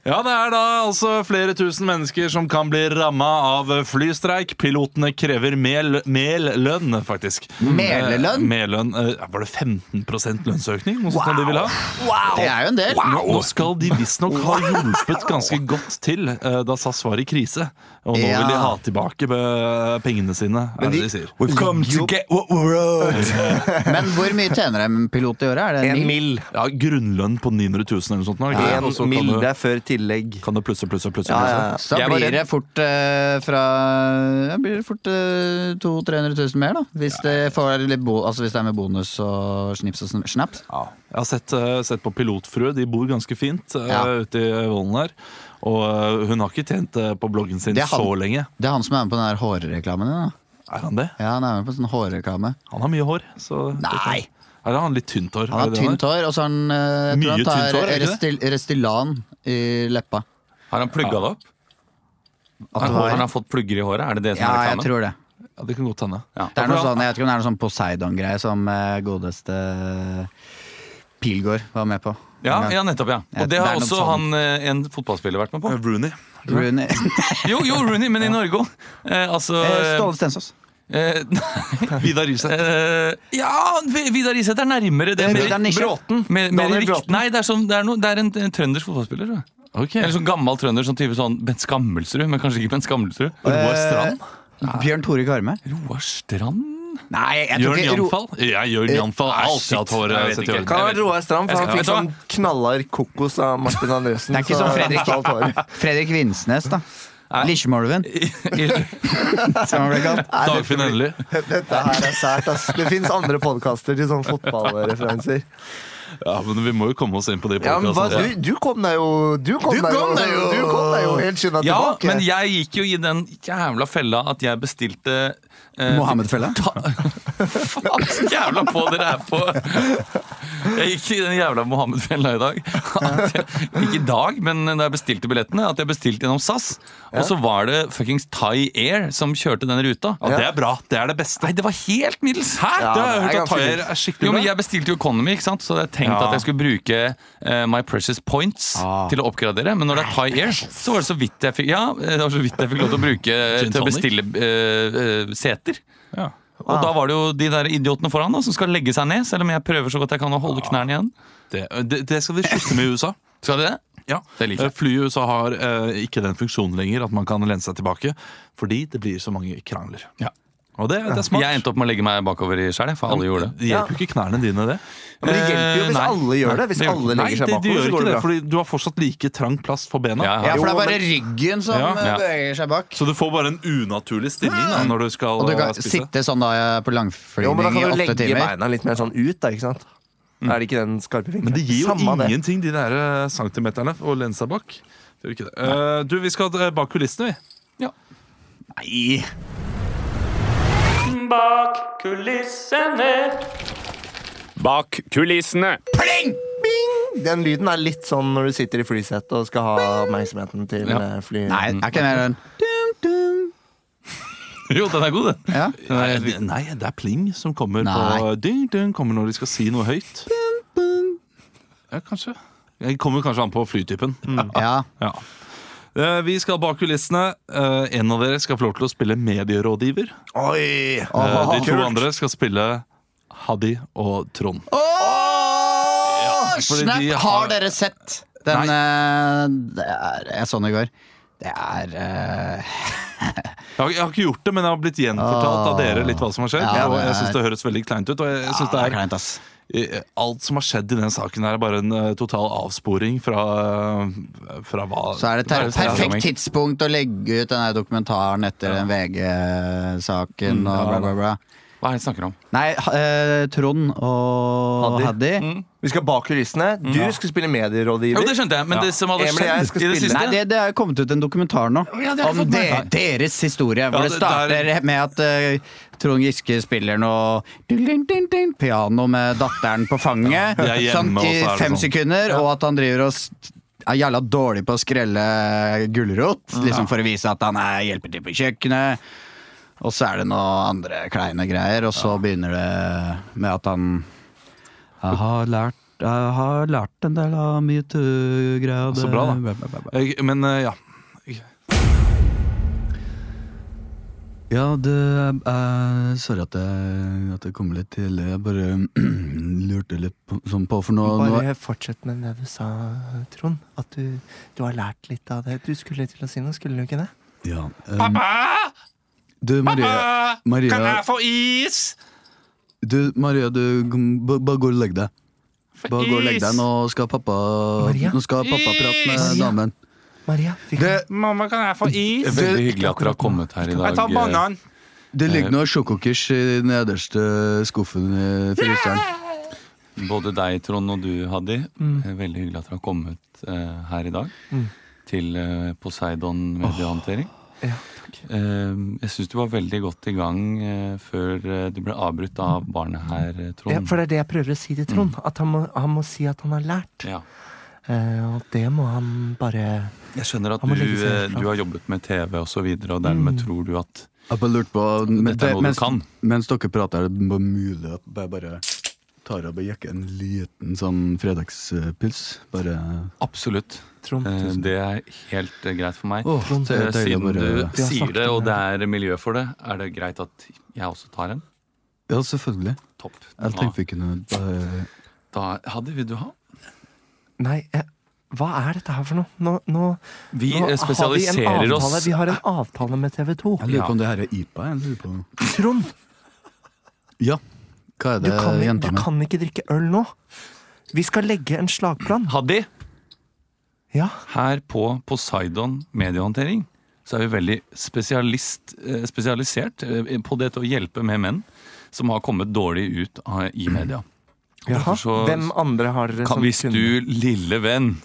Speaker 1: ja, det er da altså flere tusen mennesker som kan bli ramma av flystreik. Pilotene krever mel, mel lønn, faktisk.
Speaker 2: Melelønn?
Speaker 1: Eh, Mellønn. Eh, Var det 15 lønnsøkning? Noe sånt de ville ha?
Speaker 2: Det er jo en del.
Speaker 1: Nå- Nå skal de visstnok ha hjulpet ganske godt til eh, da SAS var i krise. Og nå
Speaker 2: Ja.
Speaker 1: vil de ha tilbake eh, pengene sine, er det de sier.
Speaker 3: We've come to get what we're owed.
Speaker 2: Men hvor mye tjener en pilot i året? Er det
Speaker 3: En
Speaker 2: en mil?
Speaker 3: mill.
Speaker 1: Ja, Grunnlønn på 900 000 eller noe sånt. nå, ikke sant? Og så
Speaker 3: En
Speaker 1: kan
Speaker 3: mill.
Speaker 1: du-
Speaker 3: Det er før tillegg.
Speaker 1: Kan du plusse, plusse, plusse?
Speaker 3: Ja,
Speaker 1: plusse.
Speaker 3: ja, ja.
Speaker 2: Så da
Speaker 4: Jeg var
Speaker 2: blir
Speaker 4: redd-
Speaker 2: det fort eh, fra ja, blir det fort eh, 200 000-300 000 mer, da. Hvis det, får litt bo, altså hvis det er med bonus og snips og sn- snaps.
Speaker 1: Ja. Jeg har sett, eh, sett på Pilotfrue. De bor ganske fint eh,
Speaker 2: Ja.
Speaker 1: ute i volden her. Og eh, hun har ikke tjent eh, på bloggen sin
Speaker 2: Det er han.
Speaker 1: så lenge.
Speaker 2: Det er han som er med på den der hårreklamen din, da.
Speaker 1: Er han det?
Speaker 2: Ja, han er med på sånn hårreklame.
Speaker 1: Han har mye hår. Så
Speaker 2: Nei.
Speaker 1: Er han litt tynt hår?
Speaker 2: Han
Speaker 1: Er
Speaker 2: har
Speaker 1: det det
Speaker 2: tynt hår, og så har han eh, jeg tror
Speaker 1: Mye
Speaker 2: han
Speaker 1: tynt hår,
Speaker 2: tar
Speaker 1: er det ikke
Speaker 2: Restil- Restylan i leppa.
Speaker 4: Har han plugga det opp?
Speaker 2: At
Speaker 4: Har
Speaker 2: det var-
Speaker 4: har han fått plugger i håret? Er det det som
Speaker 2: ja,
Speaker 4: er
Speaker 2: jeg
Speaker 4: reklamen?
Speaker 2: tror det.
Speaker 1: Ja, det kan godt hende.
Speaker 4: Ja.
Speaker 2: Det er noe
Speaker 1: for han-
Speaker 2: sånn, jeg vet ikke om det er noe sånn Poseidon-greie som eh, godeste Pilgaard var med på.
Speaker 4: Ja,
Speaker 2: En gang.
Speaker 4: ja, nettopp, ja.
Speaker 2: Ja,
Speaker 4: Og det har
Speaker 2: det er noe
Speaker 4: også
Speaker 2: sånn.
Speaker 4: han, eh, en fotballspiller vært med på.
Speaker 1: Rooney.
Speaker 2: Rooney.
Speaker 4: Jo, jo, Rooney, men i Norge òg. Eh, altså
Speaker 7: Eh, Ståle Stensås.
Speaker 4: eh, nei.
Speaker 1: Vidar Riseth.
Speaker 4: Eh, ja, Vi- Vidar Iseth er nærmere det.
Speaker 2: Vidar Nisje.
Speaker 4: Bråten. Mer, mer
Speaker 3: Daniel
Speaker 4: rikt-
Speaker 3: Bråten.
Speaker 4: Nei, det er, sånn, det er, noe, det er en, en trøndersk fotballspiller. tror jeg. Eller sånn gammel trønder, sånn type sånn Bent Skammelsrud, men kanskje ikke Bent Skammelsrud.
Speaker 1: Roar Strand.
Speaker 2: Bjørn Tore Karme.
Speaker 4: Roar Strand?
Speaker 2: Nei, jeg tror
Speaker 1: Jørn
Speaker 2: ikke Ro- Eh, ah,
Speaker 1: Janfall? Ja, Jørn Janfall har
Speaker 4: shit,
Speaker 1: alltid hatt hår.
Speaker 4: jeg
Speaker 1: eh,
Speaker 4: vet
Speaker 1: sett i
Speaker 4: ikke.
Speaker 1: år.
Speaker 4: Kan-
Speaker 3: Han var Roar Strand, for
Speaker 4: Jeg
Speaker 3: han fikk
Speaker 4: skal-
Speaker 3: sånn knallhard kokos av Martin Andresen.
Speaker 2: Det er ikke
Speaker 3: så
Speaker 2: som
Speaker 3: han
Speaker 2: Fredrik.
Speaker 3: fikk alt håret.
Speaker 2: Fredrik Vinsnes, da. Lisjemolven, som han ble kalt.
Speaker 1: Dagfinn Endelig.
Speaker 3: Dette her er sært, ass. Det fins andre podkaster til sånn sånne fotballreferanser.
Speaker 1: Ja, men vi må jo komme oss inn på det.
Speaker 3: Ja, men hva,
Speaker 1: podcastet.
Speaker 3: du, du kom deg jo Du kom,
Speaker 2: Du
Speaker 3: deg,
Speaker 2: kom
Speaker 3: jo,
Speaker 2: deg jo.
Speaker 3: Du kom deg jo helt skynda
Speaker 4: Ja,
Speaker 3: tilbake.
Speaker 4: men jeg gikk jo i den jævla fella at jeg bestilte eh,
Speaker 2: Mohammed-fella.
Speaker 4: ta- Faen, så jævla på dere er på! Jeg gikk i den jævla Mohammed-fella i dag. At jeg, ikke i dag, men da jeg bestilte billettene, at jeg bestilte gjennom SAS. Og så var det fuckings Thai Air som kjørte den ruta.
Speaker 1: Ja, det er bra. Det er det beste.
Speaker 4: Nei, det var helt middels! Hæ?
Speaker 1: Ja, det har jeg
Speaker 3: det er
Speaker 1: hørt at
Speaker 3: ganske
Speaker 1: Tayer
Speaker 3: fint.
Speaker 1: er skikkelig
Speaker 4: Jo, men
Speaker 1: bra.
Speaker 4: Jeg bestilte jo Economy, ikke sant? så jeg tenkte
Speaker 1: Ja.
Speaker 4: at jeg skulle bruke eh, My Precious Points til å oppgradere. Men når det er Thai Air, så var det så vidt jeg fikk Ja, eh, det var så vidt jeg fikk lov til å bruke
Speaker 1: Gin
Speaker 4: til å
Speaker 1: tonic.
Speaker 4: bestille eh, eh, seter.
Speaker 1: Ja.
Speaker 4: Og da var det jo de der idiotene foran da, som skal legge seg ned, selv om jeg prøver så godt jeg kan å holde knærne igjen.
Speaker 1: Det, det, det skal de slutte med i USA.
Speaker 4: Skal de det?
Speaker 1: Ja.
Speaker 4: Det liker jeg.
Speaker 1: Eh, Fly i USA har eh, ikke den funksjonen lenger at man kan lene seg tilbake, fordi det blir så mange krangler. Og det, det er smart.
Speaker 4: Jeg endte opp med å legge meg bakover i skjell, jeg, for alle gjorde det.
Speaker 1: Det hjelper jo ikke knærne dine, det.
Speaker 3: Men det hjelper jo
Speaker 4: Eh,
Speaker 3: hvis
Speaker 4: nei.
Speaker 3: alle gjør det. Hvis
Speaker 4: det gjør-
Speaker 3: alle
Speaker 1: Nei,
Speaker 3: legger
Speaker 1: det,
Speaker 3: seg
Speaker 1: det
Speaker 3: bakover,
Speaker 1: gjør
Speaker 3: så
Speaker 1: ikke
Speaker 3: går
Speaker 1: det,
Speaker 3: det bra.
Speaker 1: fordi du har fortsatt like trang plass for bena.
Speaker 4: Ja,
Speaker 2: Ja,
Speaker 4: ja.
Speaker 2: for det
Speaker 3: Jo,
Speaker 2: er bare
Speaker 3: men-
Speaker 2: ryggen som
Speaker 1: Ja,
Speaker 2: eh,
Speaker 4: ja.
Speaker 2: beveger seg bak.
Speaker 1: Så du får bare en unaturlig stilling da, når du skal
Speaker 2: Og du
Speaker 1: eh,
Speaker 2: kan
Speaker 1: spise.
Speaker 2: sitte sånn da eh, på
Speaker 3: Jo, men da
Speaker 2: langflygning i
Speaker 3: kan du
Speaker 2: åtte
Speaker 3: legge
Speaker 2: timer.
Speaker 3: beina litt mer sånn ut, da, ikke sant? Er det ikke den skarpe vinkelen?
Speaker 1: Men det gir jo
Speaker 3: Samme Mm. det.
Speaker 1: ingenting, de der eh, centimeterne, å lene seg bak. Det gjør ikke det. Eh, du, vi skal eh, bak kulissene, vi.
Speaker 2: Nei.
Speaker 6: Bak kulissene.
Speaker 8: Bak kulissene.
Speaker 3: Den lyden er litt sånn når du sitter i flysetet og skal ha oppmerksomheten til
Speaker 4: Ja.
Speaker 3: eh, fly...
Speaker 2: Nei, det er ikke mer enn
Speaker 4: Jo, den er god, den.
Speaker 2: ja.
Speaker 1: Nei, det- nei, det er pling som kommer på
Speaker 2: Nei.
Speaker 1: ding, ding, kommer når de skal si noe høyt. Ja, kanskje. Det kommer kanskje an på flytypen.
Speaker 4: Mm.
Speaker 2: ja.
Speaker 1: Ja. Eh, Vi skal bak kulissene. Eh, En av dere skal få lov til å spille medierådgiver.
Speaker 3: Oi!
Speaker 1: Eh, De to
Speaker 3: kult.
Speaker 1: andre skal spille Haddy og Trond. fordi
Speaker 2: Snap,
Speaker 1: de har-
Speaker 2: har dere sett den eh, det er, Jeg så den i går. Det er eh,
Speaker 1: Jeg har, jeg har ikke gjort det, men jeg har blitt gjenfortalt av dere litt hva som har skjedd.
Speaker 2: Ja,
Speaker 1: og
Speaker 2: det
Speaker 1: jeg syns
Speaker 2: er-
Speaker 1: det høres veldig kleint ut. Og jeg synes det
Speaker 2: ah,
Speaker 1: er
Speaker 2: kleint, ass.
Speaker 1: Eh, Alt som har skjedd i den saken her, er bare en eh, total avsporing fra, eh, fra hva
Speaker 2: Så er det et
Speaker 1: Hva
Speaker 2: ter perfekt
Speaker 1: det er?
Speaker 2: tidspunkt å legge ut den der dokumentaren etter den VG-saken og bla, bla, bla.
Speaker 4: Hva er det jeg snakker om?
Speaker 2: Nei, ha- eh, Trond og
Speaker 3: Haddy.
Speaker 2: Haddy.
Speaker 3: Vi skal bak kulissene. Du skal spille medierådgiver.
Speaker 4: Jo, det skjønte jeg, men det som hadde
Speaker 3: Emil og jeg
Speaker 4: skjedd
Speaker 3: skal
Speaker 4: i det
Speaker 3: spille.
Speaker 4: siste
Speaker 2: Nei, det, det er jo kommet ut en dokumentar nå om det, deres historie. Hvor
Speaker 1: det-
Speaker 2: det, starter med at eh, Trond Giske spiller noe dun, dun, dun, dun, piano med datteren på fanget
Speaker 1: Ja, de er hjemme,
Speaker 2: sånn, i
Speaker 1: og så er det
Speaker 2: fem
Speaker 1: sånn.
Speaker 2: sekunder, og at han driver og s- er jævla dårlig på å skrelle gulrot, liksom for å vise at han er hjelper til på kjøkkenet. Og så er det noe andre kleine greier, og så begynner det med at han Jeg har lært, jeg har lært en del av eh, metoo-greia.
Speaker 1: Så bra, da.
Speaker 2: Bla, bla, bla, bla.
Speaker 1: Jeg- Men eh, ja.
Speaker 2: Ja, det er Sorry at jeg, at jeg kom litt tidlig. Jeg bare lurte litt på, sånn på for noe, noe
Speaker 3: Bare fortsett med det du sa, Trond. At du, du har lært litt av det. Du skulle til å si noe, skulle du ikke det?
Speaker 2: ja, Pappa! Du, Maria,
Speaker 9: Kan
Speaker 2: Maria,
Speaker 9: jeg få is?
Speaker 2: du, Maria, du g- ba- bare gå og legg deg. Bare gå og legg deg. Nå skal pappa
Speaker 3: Maria?
Speaker 2: Nå skal pappa prate med
Speaker 3: Maria?
Speaker 2: damen.
Speaker 3: Maria, fikk
Speaker 2: Det,
Speaker 9: Mamma, kan jeg få is?
Speaker 4: Veldig hyggelig at dere har kommet her i dag.
Speaker 9: Jeg tar banan.
Speaker 2: det
Speaker 9: Eh.
Speaker 2: ligger noe sjokokers i den nederste skuffen i fryseren.
Speaker 4: eh, Både deg, Trond, og du, Haddy. Eh, Veldig hyggelig at dere har kommet eh, her i dag. Til eh, Poseidon mediehåndtering.
Speaker 3: Ja,
Speaker 4: Eh, jeg syns du var veldig godt i gang eh, før eh, du ble avbrutt av barnet her, eh, Trond.
Speaker 3: Ja, for det er det jeg prøver å si til Trond. At han må, han må si at han har lært.
Speaker 4: Ja.
Speaker 3: Eh, og det må han bare
Speaker 4: Jeg skjønner at
Speaker 3: Han må
Speaker 4: du,
Speaker 3: legge seg Mm.
Speaker 4: eh,
Speaker 3: helt
Speaker 4: du har jobbet med TV og så videre, og dermed tror du at
Speaker 2: Jeg har bare lurt på men-
Speaker 4: Dette er noe du
Speaker 2: mens,
Speaker 4: kan.
Speaker 2: mens dere prater, er det bare mulig at jeg bare tar og bare jekker en liten sånn fredagspils? Bare
Speaker 4: Absolutt.
Speaker 3: Trond,
Speaker 4: Eh,
Speaker 3: tusen
Speaker 4: Det er helt eh, greit for meg.
Speaker 2: Åh, sånn det er
Speaker 4: Eh,
Speaker 2: deilig å
Speaker 4: Siden du
Speaker 2: bare
Speaker 4: sier
Speaker 3: snakket
Speaker 4: det,
Speaker 3: om
Speaker 4: og det er miljø for det, er det greit at jeg også tar en?
Speaker 2: Ja, selvfølgelig.
Speaker 4: Topp.
Speaker 2: Jeg tenkte vi kunne bare
Speaker 4: Da, Hadde, vil du ha?
Speaker 3: Nei, eh, hva er dette her for noe? Nå, nå,
Speaker 4: Vi
Speaker 3: nå
Speaker 4: eh,
Speaker 3: har
Speaker 4: spesialiserer
Speaker 3: vi en
Speaker 4: oss
Speaker 3: avtale. Vi har en avtale med TV 2.
Speaker 2: Jeg lurer på om det her er IPA? Jeg lurer på
Speaker 3: Trond,
Speaker 2: Ja. Hva er
Speaker 3: du
Speaker 2: det
Speaker 3: kan, i-
Speaker 2: eh, jenta
Speaker 3: du
Speaker 2: mi?
Speaker 3: kan ikke drikke øl nå. Vi skal legge en slagplan.
Speaker 4: Haddy,
Speaker 3: Ja,
Speaker 4: her på Poseidon mediehåndtering så er vi veldig spesialist, eh, spesialisert eh, på det til å hjelpe med menn som har kommet dårlig ut av- i media.
Speaker 3: jaha.
Speaker 4: så-
Speaker 3: Hvem andre har dere
Speaker 4: Kan,
Speaker 3: som
Speaker 4: hvis
Speaker 3: kunne-
Speaker 4: du, lille venn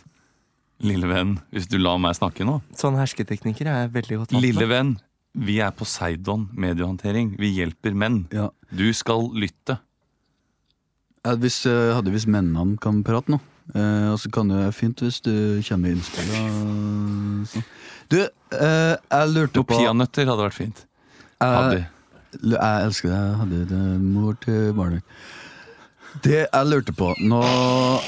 Speaker 4: Lille venn, hvis du lar meg snakke nå.
Speaker 3: Sånne hersketeknikker er jeg veldig godt vant
Speaker 4: Lille
Speaker 3: med.
Speaker 4: venn, vi er Poseidon mediehåndtering. Vi hjelper menn.
Speaker 2: Ja.
Speaker 4: Du skal lytte.
Speaker 2: Ja, Hvis, eh, hadde hvis mennene kan prate nå. Eh, og så kan det være fint hvis du kommer med innspill. og sånn. Du, eh, jeg lurte
Speaker 4: Noen
Speaker 2: på Eh, jeg,
Speaker 4: peanøtter hadde vært fint. Hadde.
Speaker 2: jeg elsker deg, Hadde. Det er mor til barnet ditt. Det jeg lurte på Nå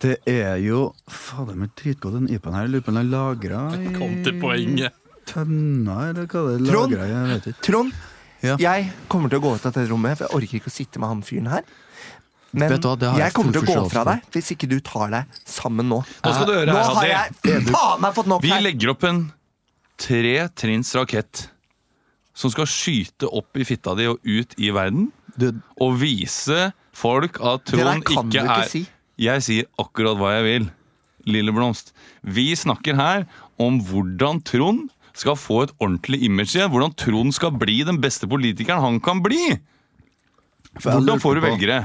Speaker 2: Det er jo Fader, men dritgodt den IPA-en her. Jeg lurer på om den er lagra
Speaker 9: Kom til
Speaker 2: i
Speaker 9: poenget.
Speaker 2: tønna, eller hva det er
Speaker 3: Trond!
Speaker 2: lagra i? Jeg vet ikke.
Speaker 3: Trond,
Speaker 2: Ja.
Speaker 3: jeg kommer til å gå ut av dette rommet, for jeg orker ikke å sitte med han fyren her. Men
Speaker 2: Vet du hva, det har jeg
Speaker 3: jeg
Speaker 2: full
Speaker 3: kommer til å gå
Speaker 2: forståelse
Speaker 3: fra
Speaker 2: for.
Speaker 3: deg hvis ikke du tar deg sammen nå.
Speaker 4: Nå skal du høre
Speaker 3: Nå
Speaker 4: her,
Speaker 3: har
Speaker 4: Hadde.
Speaker 3: jeg faen meg fått nok
Speaker 4: Vi
Speaker 3: her!
Speaker 4: legger opp en tretrinns rakett som skal skyte opp i fitta di og ut i verden.
Speaker 2: Du,
Speaker 4: Og vise folk at
Speaker 3: Det der
Speaker 4: Trond ikke er
Speaker 3: kan du ikke si.
Speaker 4: Jeg sier akkurat hva jeg vil. Lille Blomst. Vi snakker her om hvordan Trond skal få et ordentlig image igjen. Hvordan Trond skal bli den beste politikeren han kan bli!
Speaker 2: for jeg
Speaker 4: Hvordan
Speaker 2: lurte
Speaker 4: får du
Speaker 2: på-
Speaker 4: velgere?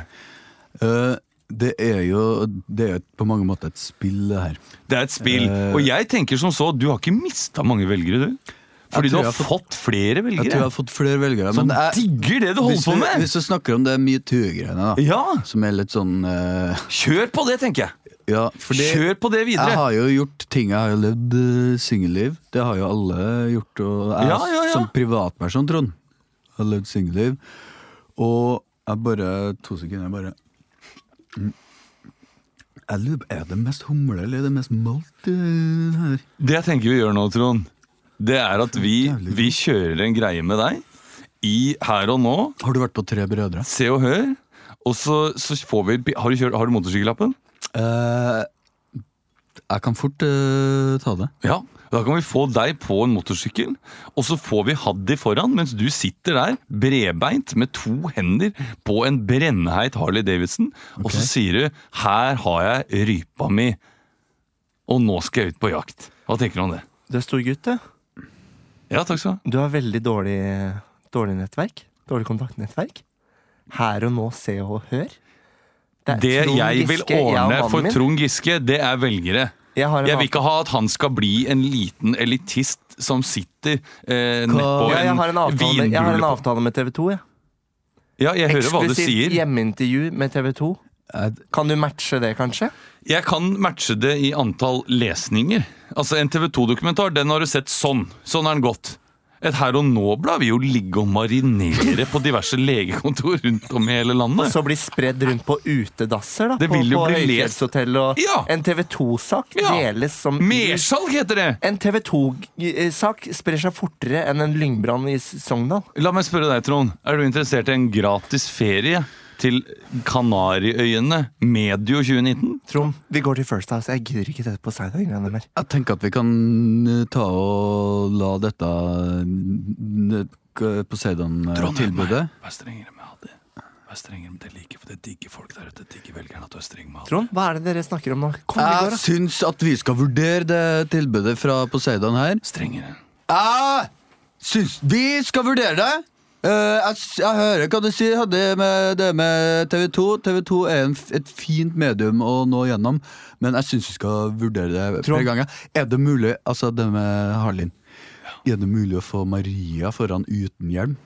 Speaker 2: Eh, det er jo Det er jo på mange måter et spill, det her.
Speaker 4: Det er et spill.
Speaker 2: Eh.
Speaker 4: Og jeg tenker som så, du har ikke mista mange velgere, du. Fordi
Speaker 2: tror jeg
Speaker 4: du har
Speaker 2: har
Speaker 4: fått flere
Speaker 2: Jeg tror jeg
Speaker 4: velgere.
Speaker 2: har fått flere velgere.
Speaker 4: Som
Speaker 2: Men jeg,
Speaker 4: digger det du
Speaker 2: hvis,
Speaker 4: holder på
Speaker 2: du,
Speaker 4: med!
Speaker 2: hvis du snakker om det metoo-greiene, da.
Speaker 4: Ja!
Speaker 2: Som er litt sånn eh,
Speaker 4: Kjør på det, tenker jeg!
Speaker 2: Ja, fordi
Speaker 4: Kjør på det
Speaker 2: jeg
Speaker 4: videre!
Speaker 2: har jo gjort ting. Jeg har jo levd eh, singelliv. Det har jo alle gjort. Og jeg
Speaker 4: Ja, ja, ja.
Speaker 2: som privatperson, Trond, har levd singelliv. Og jeg bare To sekunder, jeg bare Mm. jeg lurer, på, Er det mest humle eller er det mest malt i det her?
Speaker 4: Det jeg tenker vi gjør nå, Trond, det er at vi, vi kjører en greie med deg i her og nå.
Speaker 2: Har du vært på Tre brødre?
Speaker 4: Se og hør. Og så, så får vi Har du, kjørt, har du motorsykkellappen?
Speaker 2: Eh, jeg kan fort eh, ta det.
Speaker 4: Ja. Da kan vi få deg på en motorsykkel, og så får vi Haddy foran mens du sitter der bredbeint med to hender på en brennheit Harley Davidson, og så sier du 'Her har jeg rypa mi, og nå skal jeg ut på jakt'. Hva tenker du om det?
Speaker 3: Du er stor gutt, du.
Speaker 4: Ja, takk skal du ha.
Speaker 3: Du har veldig dårlig, dårlig nettverk. Dårlig kontaktnettverk. Her og nå, se og hør. er
Speaker 4: Det
Speaker 3: Trond
Speaker 4: jeg vil
Speaker 3: Giske, jeg og
Speaker 4: ordne
Speaker 3: mannen
Speaker 4: for
Speaker 3: min.
Speaker 4: Trond Giske, det er velgere.
Speaker 3: Jeg har en
Speaker 4: Jeg vil
Speaker 3: annen-
Speaker 4: ikke ha at han skal bli en liten elitist som sitter eh, nedpå
Speaker 3: ja, jeg, har en
Speaker 4: en
Speaker 3: avtale, jeg har en
Speaker 4: vinrulle på
Speaker 3: avtale med TV 2. Ja.
Speaker 4: Ja, jeg hører hva du
Speaker 3: Eksklusivt
Speaker 4: sier.
Speaker 3: hjemmeintervju med TV 2. Kan du matche det, kanskje?
Speaker 4: Jeg kan matche det i antall lesninger. Altså En TV 2-dokumentar den har du sett sånn. Sånn er den godt. Et Her og Nå-blad vil jo ligge og marinere på diverse legekontor rundt om i hele landet.
Speaker 3: Så blir spredd rundt på utedasser da,
Speaker 4: Det
Speaker 3: på,
Speaker 4: vil jo
Speaker 3: på
Speaker 4: bli lest.
Speaker 3: høyfjellshotell. Og
Speaker 4: Ja.
Speaker 3: En TV 2-sak
Speaker 4: Ja.
Speaker 3: deles som
Speaker 4: Mersalg heter det!
Speaker 3: En TV 2-sak sprer seg fortere enn en lyngbrann i S- Sogndal.
Speaker 4: La meg spørre deg, Trond. Er du interessert i en gratis ferie til Kanariøyene medio 2019?
Speaker 3: Trond, vi går til First House. Jeg gidder ikke dette på Seidar-greiene mer.
Speaker 2: Jeg tenker at vi kan eh, ta og la dette eh, k- eh, Poseidon-tilbudet
Speaker 4: Vær strengere med Adi. Vær strengere med det like, for det digger folk der ute. Digger velgerne at du er streng med Adi.
Speaker 3: Trond, hva er det dere snakker om nå? Kom, vi
Speaker 2: Jeg
Speaker 3: går, da.
Speaker 2: syns at vi skal vurdere det tilbudet fra Poseidon her.
Speaker 4: Strengere.
Speaker 2: Jeg syns vi skal vurdere det! Eh, jeg, s- jeg hører hva du sier, hadde med det med TV2. TV2 er en, f- et fint medium å nå gjennom, men jeg syns vi skal vurdere det flere ganger. Er det mulig, altså det med Harlin Er det mulig å få Maria foran uten hjelm?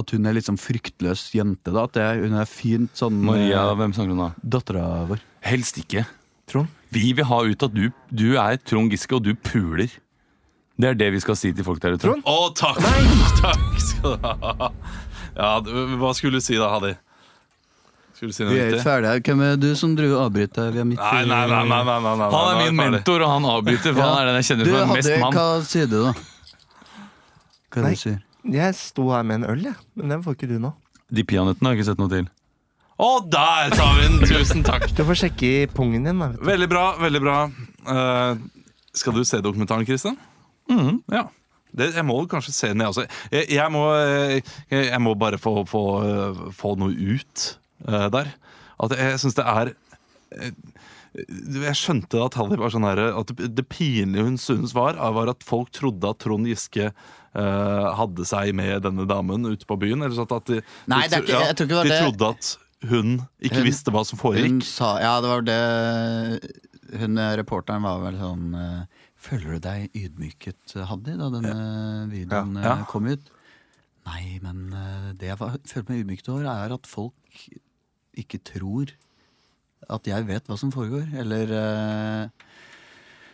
Speaker 2: At hun er litt sånn fryktløs jente, da? At det, er- hun er fint sånn
Speaker 4: Maria, hvem snakker du nå?
Speaker 2: Dattera vår.
Speaker 4: Helst ikke.
Speaker 3: Trond,
Speaker 4: Vi vil ha ut at du, du er Trond Giske, og du puler. Det er det vi skal si til folk der ute.
Speaker 3: Trond?
Speaker 1: Å, takk! Takk skal du ha. Ja, du- hva skulle du si da, Hadi? Skulle du si noe
Speaker 2: Vi er
Speaker 1: riktig?
Speaker 2: ikke ferdige. Hvem er du som driver og avbryter? Vi er midt i
Speaker 1: Nei, nei, nei, nei, nei, nei, nei.
Speaker 4: Han
Speaker 1: nå
Speaker 4: er min
Speaker 1: vi ferdig.
Speaker 4: mentor, og han avbryter, for han er den jeg kjenner
Speaker 2: Du,
Speaker 4: som er
Speaker 2: Hadde,
Speaker 4: mest mann.
Speaker 2: hva sier du, da? Hva er
Speaker 3: Nei.
Speaker 2: det du sier?
Speaker 3: jeg sto her med en øl, jeg. Men den får ikke du nå.
Speaker 4: De peanøttene har jeg ikke sett noe til.
Speaker 1: Å, der tar vi den! Tusen takk.
Speaker 3: Du får sjekke i pungen din. Da, vet du.
Speaker 1: Veldig bra, veldig bra. Eh, skal du se dokumentaren, Kristian?
Speaker 2: Mm.
Speaker 1: Ja. Det, jeg må kanskje se den, jeg også. Jeg, jeg, må, eh, jeg, jeg må bare få, få, eh, få noe ut eh, der. At jeg, jeg syns det er eh, du, Jeg skjønte at Halli var sånn her At det, det pinlige hun syntes var, var at folk trodde at Trond Giske eh, hadde seg med denne damen ute på byen. Eller sånn at de,
Speaker 2: Nei, det er ikke-
Speaker 1: de, tro-
Speaker 2: jeg tror ikke det
Speaker 1: de
Speaker 2: var det.
Speaker 1: trodde at hun ikke
Speaker 2: Hun-
Speaker 1: visste hva som foregikk.
Speaker 2: Hun sa Ja, det var det Hun eh, reporteren var vel sånn eh, Føler du deg ydmyket, eh, Haddy, da denne videoen
Speaker 1: Ja.
Speaker 2: eh, kom ut? Nei, men eh, det jeg var- følte meg ydmyket over, er at folk ikke tror at jeg vet hva som foregår. Eller eh,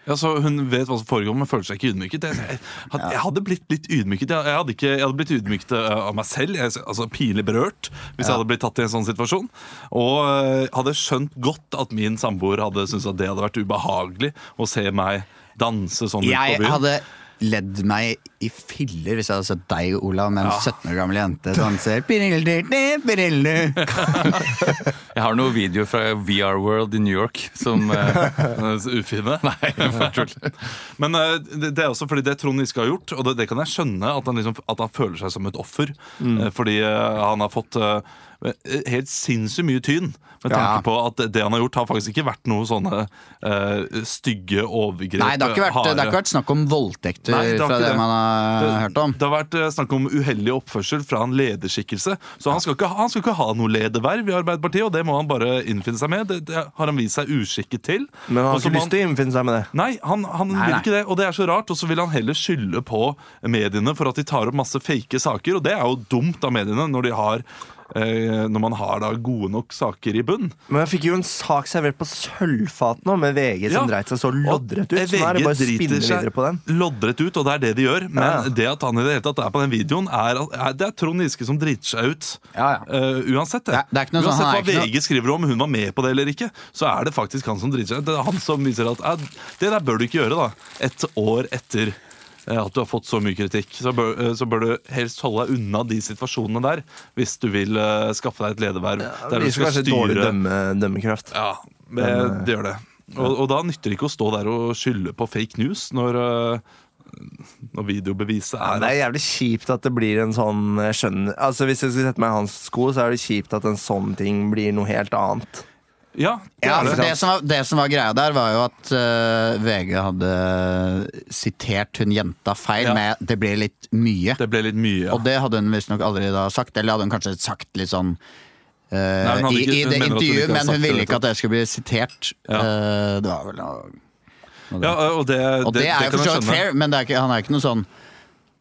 Speaker 1: Ja, så Hun vet hva som foregår, men føler seg ikke ydmyket. Jeg, jeg, had- jeg hadde blitt litt ydmyket. Jeg, jeg, hadde, ikke, jeg hadde blitt ydmyket eh, av meg selv, jeg, altså pinlig berørt, hvis jeg hadde blitt tatt i en sånn situasjon. Og eh, hadde skjønt godt at min samboer hadde syntes at det hadde vært ubehagelig å se meg danse sånn ute på
Speaker 2: Jeg
Speaker 1: byen.
Speaker 2: hadde ledd meg i filler hvis jeg hadde sett deg, Olav, med en 17 år gammel jente danser
Speaker 4: Jeg har noen videoer fra VR World i New York som eh,
Speaker 1: Eh, så Ufine.
Speaker 4: Nei, bare tull.
Speaker 1: Men eh, det, det er også fordi det Trond Giske har gjort, og det, det kan jeg skjønne, at han, liksom, at han føler seg som et offer.
Speaker 2: Mm.
Speaker 1: eh, Fordi eh, han har fått eh, helt sinnssykt mye tyn. Med tanke
Speaker 2: Ja.
Speaker 1: på at det- det han har gjort, har faktisk ikke vært noe sånne eh, stygge overgrep.
Speaker 2: Nei, det har, ikke vært, det har
Speaker 1: harde-
Speaker 2: ikke vært snakk om voldtekter
Speaker 1: Nei, det har
Speaker 2: fra
Speaker 1: ikke
Speaker 2: det,
Speaker 1: det.
Speaker 2: man har
Speaker 1: det,
Speaker 2: hørt om.
Speaker 1: det har vært eh, snakk om uheldig oppførsel fra en lederskikkelse. Så han skal ikke, ha- han skal ikke ha noe lederverv i Arbeiderpartiet, og det må han bare innfinne seg med. Det, det har han vist seg uskikket til.
Speaker 3: Men han
Speaker 1: Og
Speaker 3: har
Speaker 1: så
Speaker 3: ikke
Speaker 1: må
Speaker 3: lyst til å innfinne seg med det.
Speaker 1: Nei, han, han vil
Speaker 2: nei.
Speaker 1: ikke det, og det er så rart. Og så vil han heller skylde på mediene for at de tar opp masse fake saker, og det er jo dumt av mediene når, de har, eh, når man har da gode nok saker i bunn.
Speaker 3: Men jeg fikk jo en sak servert på sølvfat nå, med VG
Speaker 1: Ja.
Speaker 3: som dreit seg så
Speaker 1: Og
Speaker 3: loddrett ut. Så nå
Speaker 1: VG
Speaker 3: er det bare å
Speaker 1: driter
Speaker 3: spinne
Speaker 1: seg
Speaker 3: videre på den.
Speaker 1: Loddrett ut, og det er det de gjør. Men
Speaker 3: Ja, ja.
Speaker 1: det at han i det hele tatt er på den videoen, er, at- er, det er Trond Giske som driter seg ut.
Speaker 2: Ja, ja.
Speaker 1: Eh, uansett det.
Speaker 2: Ja, det er ikke noe sånn-
Speaker 1: uansett
Speaker 2: han er
Speaker 1: hva
Speaker 2: ikke noe-
Speaker 1: VG skriver om, hun var med på det eller ikke, så er det faktisk han som driter seg ut. Det er han som viser at eh, det der bør du ikke gjøre, da. Et år etter eh, at du har fått så mye kritikk. Så bør, eh, så bør du helst holde deg unna de situasjonene der, hvis du vil eh, skaffe deg et lederverv. der du
Speaker 3: Det viser
Speaker 1: skal
Speaker 3: kanskje dårlig
Speaker 1: styre-
Speaker 3: dømme, dømmekraft.
Speaker 1: ja, det, det gjør det. Og, og da nytter det ikke å stå der og skylde på fake news når, øh, når videobeviset
Speaker 3: Ja,
Speaker 1: er
Speaker 3: det er jævlig kjipt at det blir en sånn eh, skjønn Altså Hvis jeg skulle sette meg i hans sko, så er det kjipt at en sånn ting blir noe helt annet.
Speaker 6: Ja, det
Speaker 2: Ja,
Speaker 6: er
Speaker 2: for
Speaker 6: det.
Speaker 2: det, som var, det som var greia der, var jo at eh, VG hadde sitert hun jenta feil
Speaker 1: Ja.
Speaker 2: med 'det ble litt mye'.
Speaker 1: Det ble litt mye. Ja.
Speaker 2: Og det hadde hun visstnok aldri da sagt, eller hadde hun kanskje sagt litt sånn eh,
Speaker 1: Nei, hun hadde
Speaker 2: i,
Speaker 1: ikke-
Speaker 2: I
Speaker 1: hun
Speaker 2: det
Speaker 1: mener at hun ikke
Speaker 2: intervjuet,
Speaker 1: hadde
Speaker 2: men
Speaker 1: sagt
Speaker 2: hun ville
Speaker 1: det,
Speaker 2: ikke at det skulle bli sitert.
Speaker 1: Ja.
Speaker 2: Eh, det var vel noe
Speaker 1: Ja, og det,
Speaker 2: Og det, er jo for så vidt
Speaker 1: skjønne.
Speaker 2: fair, men det er ikke, han er ikke noe sånn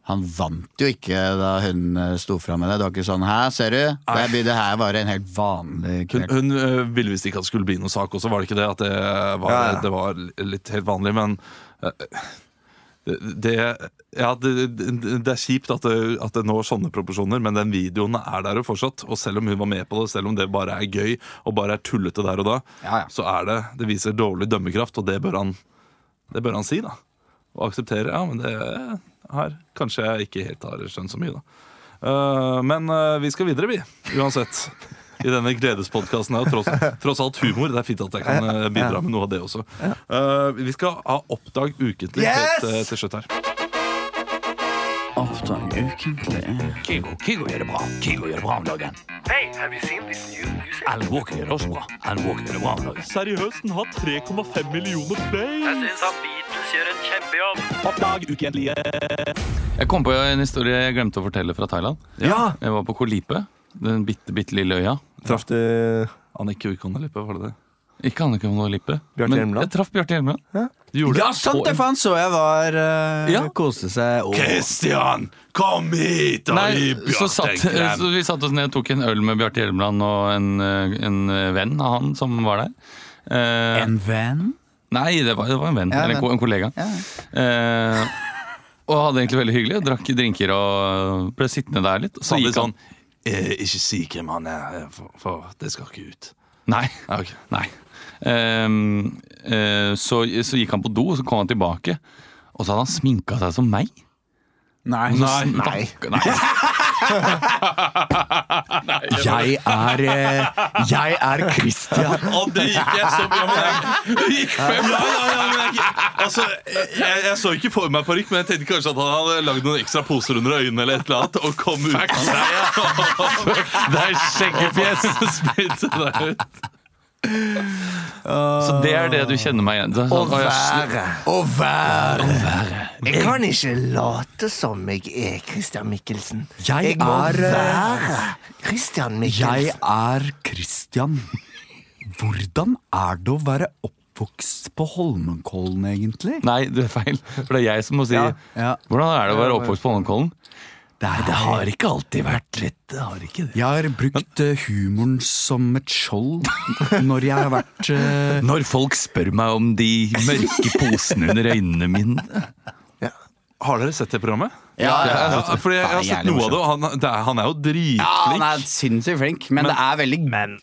Speaker 2: han vant jo ikke da hun eh, sto fram med det. Det var ikke sånn 'hæ, ser du'? Det, blir- det her var en helt vanlig
Speaker 1: Hun,
Speaker 2: kveld.
Speaker 1: hun øh, ville visst ikke at det skulle bli noen sak, og så var det ikke det. At det var,
Speaker 3: Ja, ja.
Speaker 1: Det var litt helt vanlig, men øh, det, ja, det, det, det er kjipt at det, at det når sånne proporsjoner, men den videoen er der jo fortsatt. Og selv om hun var med på det, selv om det bare er gøy og bare er tullete der og da,
Speaker 2: Ja, ja.
Speaker 1: så er det Det viser dårlig dømmekraft, og det bør han, det bør han si, da. Og akseptere. Ja, men det her Kanskje jeg ikke helt har skjønt så mye, da. Eh, men eh, vi skal videre, vi. Uansett. I denne gledespodkasten er jo tross, tross alt humor. Det er fint at jeg kan eh, bidra med noe av det også. Eh, vi skal ha Oppdag ukentlig helt eh,
Speaker 3: Yes!
Speaker 1: til slutt her.
Speaker 9: Kygo, Kygo gjør det bra. Kygo gjør det bra om dagen. Alan Walker gjør det også bra. Alan Walker gjør det bra om dagen.
Speaker 1: Seriøst, den har 3,5 millioner play!
Speaker 4: Jeg kom på en historie jeg glemte å fortelle fra Thailand.
Speaker 3: Ja!
Speaker 4: Jeg var på Koh Lipe, den bitte, bitte lille øya.
Speaker 3: Traff du
Speaker 1: Annikke Ukonalippe, var det det?
Speaker 4: Ikke Annike von Lippe.
Speaker 3: Bjarte
Speaker 4: men
Speaker 3: Hjelmeland?
Speaker 4: Jeg traff Bjarte Hjelmeland. Du gjorde
Speaker 5: Ja,
Speaker 4: det.
Speaker 5: sant
Speaker 4: Og-
Speaker 5: det, for han så jeg var eh,
Speaker 4: Ja.
Speaker 5: Koste seg og
Speaker 1: Christian, kom hit og
Speaker 4: Nei, så, satt, så vi satte oss ned og tok en øl med Bjarte Hjelmeland og en, eh, en eh, venn av han som var der. Eh,
Speaker 5: En venn?
Speaker 4: Nei, det var, det var en venn.
Speaker 5: Ja,
Speaker 4: eller
Speaker 5: venn.
Speaker 4: en, ko- en kollega. Eh, og hadde egentlig veldig hyggelig. Drakk drinker og ble sittende der litt. Og
Speaker 1: Sa
Speaker 4: så
Speaker 1: de
Speaker 4: gikk
Speaker 1: sånn
Speaker 4: han
Speaker 1: eh, Ikke si hvem han er, eh, for, for det skal ikke ut.
Speaker 4: Nei.
Speaker 1: Ja,
Speaker 5: Ah,
Speaker 1: ok.
Speaker 4: nei. Ehm, eh, så, så gikk han på do, og så kom han tilbake. Og så hadde han sminka seg som meg.
Speaker 2: Nei,
Speaker 4: Og så snak- nei.
Speaker 5: Jeg er eh, Jeg er Christian.
Speaker 1: Å, det gikk jeg så mye med Det gikk fem ja, ja, ja, men jeg, altså, jeg, jeg så ikke for meg parykk, men jeg tenkte kanskje at han hadde lagd noen ekstra poser under øynene eller et eller annet, og kom ut av seg. Det er skjeggefjes! Spilte deg ut.
Speaker 4: Så det er det du kjenner meg igjen. Så, så, og jeg,
Speaker 5: Å være
Speaker 3: Jeg kan ikke late som jeg er Christian Mikkelsen.
Speaker 5: Jeg
Speaker 3: jeg må
Speaker 5: er, eh,
Speaker 3: være Christian
Speaker 5: Jeg
Speaker 3: Mikkelsen.
Speaker 5: er Christian. Hvordan er det å være oppvokst på Holmenkollen, egentlig?
Speaker 4: nei, det er feil. For det er jeg som må si
Speaker 5: Ja.
Speaker 4: Hvordan er det å være oppvokst på Holmenkollen?
Speaker 5: Det, har ikke alltid vært lett. Jeg har brukt eh, humoren som et skjold når jeg har vært eh,
Speaker 4: Når folk spør meg om de mørke posene under øynene mine
Speaker 1: Har dere sett det programmet?
Speaker 2: Ja, ja, ja.
Speaker 1: Ja, fordi jeg har
Speaker 2: Faen,
Speaker 1: sett
Speaker 2: jævlig
Speaker 1: noe av det, og han, det er, han er jo
Speaker 2: Han
Speaker 1: dritflink.
Speaker 2: er sinnssykt flink, men, det er veldig,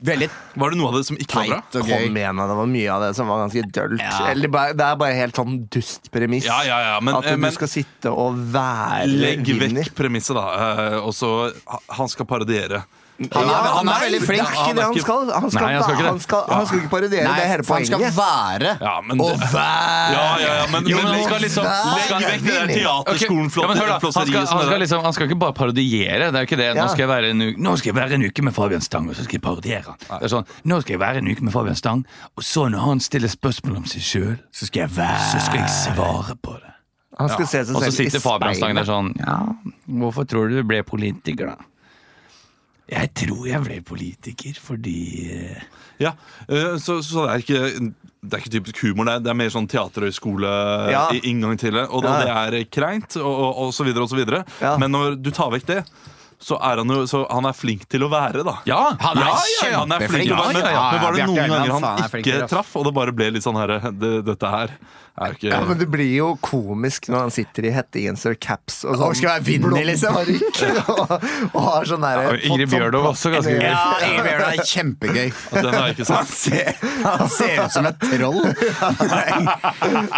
Speaker 2: veldig
Speaker 1: Var det noe av det som ikke var bra?
Speaker 2: teit og
Speaker 3: Kom
Speaker 2: gøy.
Speaker 3: igjen, da. det var mye av det som var ganske dølt. Eller det bare- det er bare helt sånn dust premiss.
Speaker 1: Ja, ja, ja, men- eh,
Speaker 3: at du
Speaker 1: men-
Speaker 3: skal sitte og være
Speaker 1: Legg
Speaker 3: vinner.
Speaker 1: vekk premisset, da. eh, Og så Han skal parodiere.
Speaker 3: Han er,
Speaker 2: han er veldig flink.
Speaker 3: Det er ikke
Speaker 1: Han er
Speaker 3: det han
Speaker 1: ikke-
Speaker 3: skal. Han skal,
Speaker 4: Nei, han skal ikke det.
Speaker 3: han skal, han skal ikke parodiere.
Speaker 2: Nei,
Speaker 3: det er hele
Speaker 2: for han skal
Speaker 3: poenget.
Speaker 2: være
Speaker 1: Ja, men
Speaker 2: og
Speaker 1: det-
Speaker 2: være
Speaker 1: Ja, ja, ja, men,
Speaker 2: Jo,
Speaker 1: men
Speaker 2: men
Speaker 1: legg-
Speaker 2: han skal liksom-
Speaker 1: legg
Speaker 3: han skal
Speaker 1: vekk det der
Speaker 3: vinne.
Speaker 4: Ok, ja, men hør da, han, skal, han, skal
Speaker 1: teaterskolen-flåseriet.
Speaker 4: liksom, han skal ikke bare parodiere. Det er ikke det. Nå
Speaker 3: Ja.
Speaker 4: skal jeg være en, u- nå skal jeg være en uke med Fabian Stang, og så skal jeg parodiere han. Det er sånn, nå skal jeg være en uke med Fabian Stang, og så når han stiller spørsmål om seg sjøl, så skal jeg være Så skal jeg svare på det.
Speaker 3: Han skal se seg
Speaker 4: Og så
Speaker 3: selv i
Speaker 4: sitter Fabian Stang
Speaker 3: speilet.
Speaker 4: der sånn Ja, hvorfor tror du du ble politiker, da? Jeg tror jeg ble politiker fordi eh,
Speaker 1: Ja, eh, så, så det er ikke det er ikke typisk humor, det er, det er mer sånn
Speaker 3: Ja.
Speaker 1: teaterhøyskole-inngang til det. Og da, det er kreint, og, og, og så videre og så videre.
Speaker 3: Ja.
Speaker 1: Men når du tar vekk det, så er han jo så han er flink til å være, da.
Speaker 4: Ja!
Speaker 2: Han er
Speaker 1: Ja, ja, ja, han er flink til å være,
Speaker 2: kjempeflink. Ja, ja,
Speaker 1: men,
Speaker 2: ja.
Speaker 1: men var det
Speaker 2: Bjarte
Speaker 1: noen
Speaker 2: Hjelmeland,
Speaker 1: ganger
Speaker 2: faen, er
Speaker 1: han
Speaker 2: flink til det,
Speaker 1: ikke
Speaker 2: ass.
Speaker 1: traff, og det bare ble litt sånn herre det, Dette her er jo ikke
Speaker 3: Ja, men det blir jo komisk når han sitter i hettegenser og caps og sånn.
Speaker 2: Og skal være vinner,
Speaker 3: blond
Speaker 2: liksom.
Speaker 3: parykk, og, og har sånn der,
Speaker 4: Ja,
Speaker 3: fått sånn
Speaker 4: Ingrid Bjørnov også ganske
Speaker 3: platt-
Speaker 4: gøy.
Speaker 2: Ja, Amy Bjørnar er kjempegøy.
Speaker 1: Den har jeg ikke
Speaker 2: Han
Speaker 1: sett.
Speaker 2: ser, han ser ut som et troll.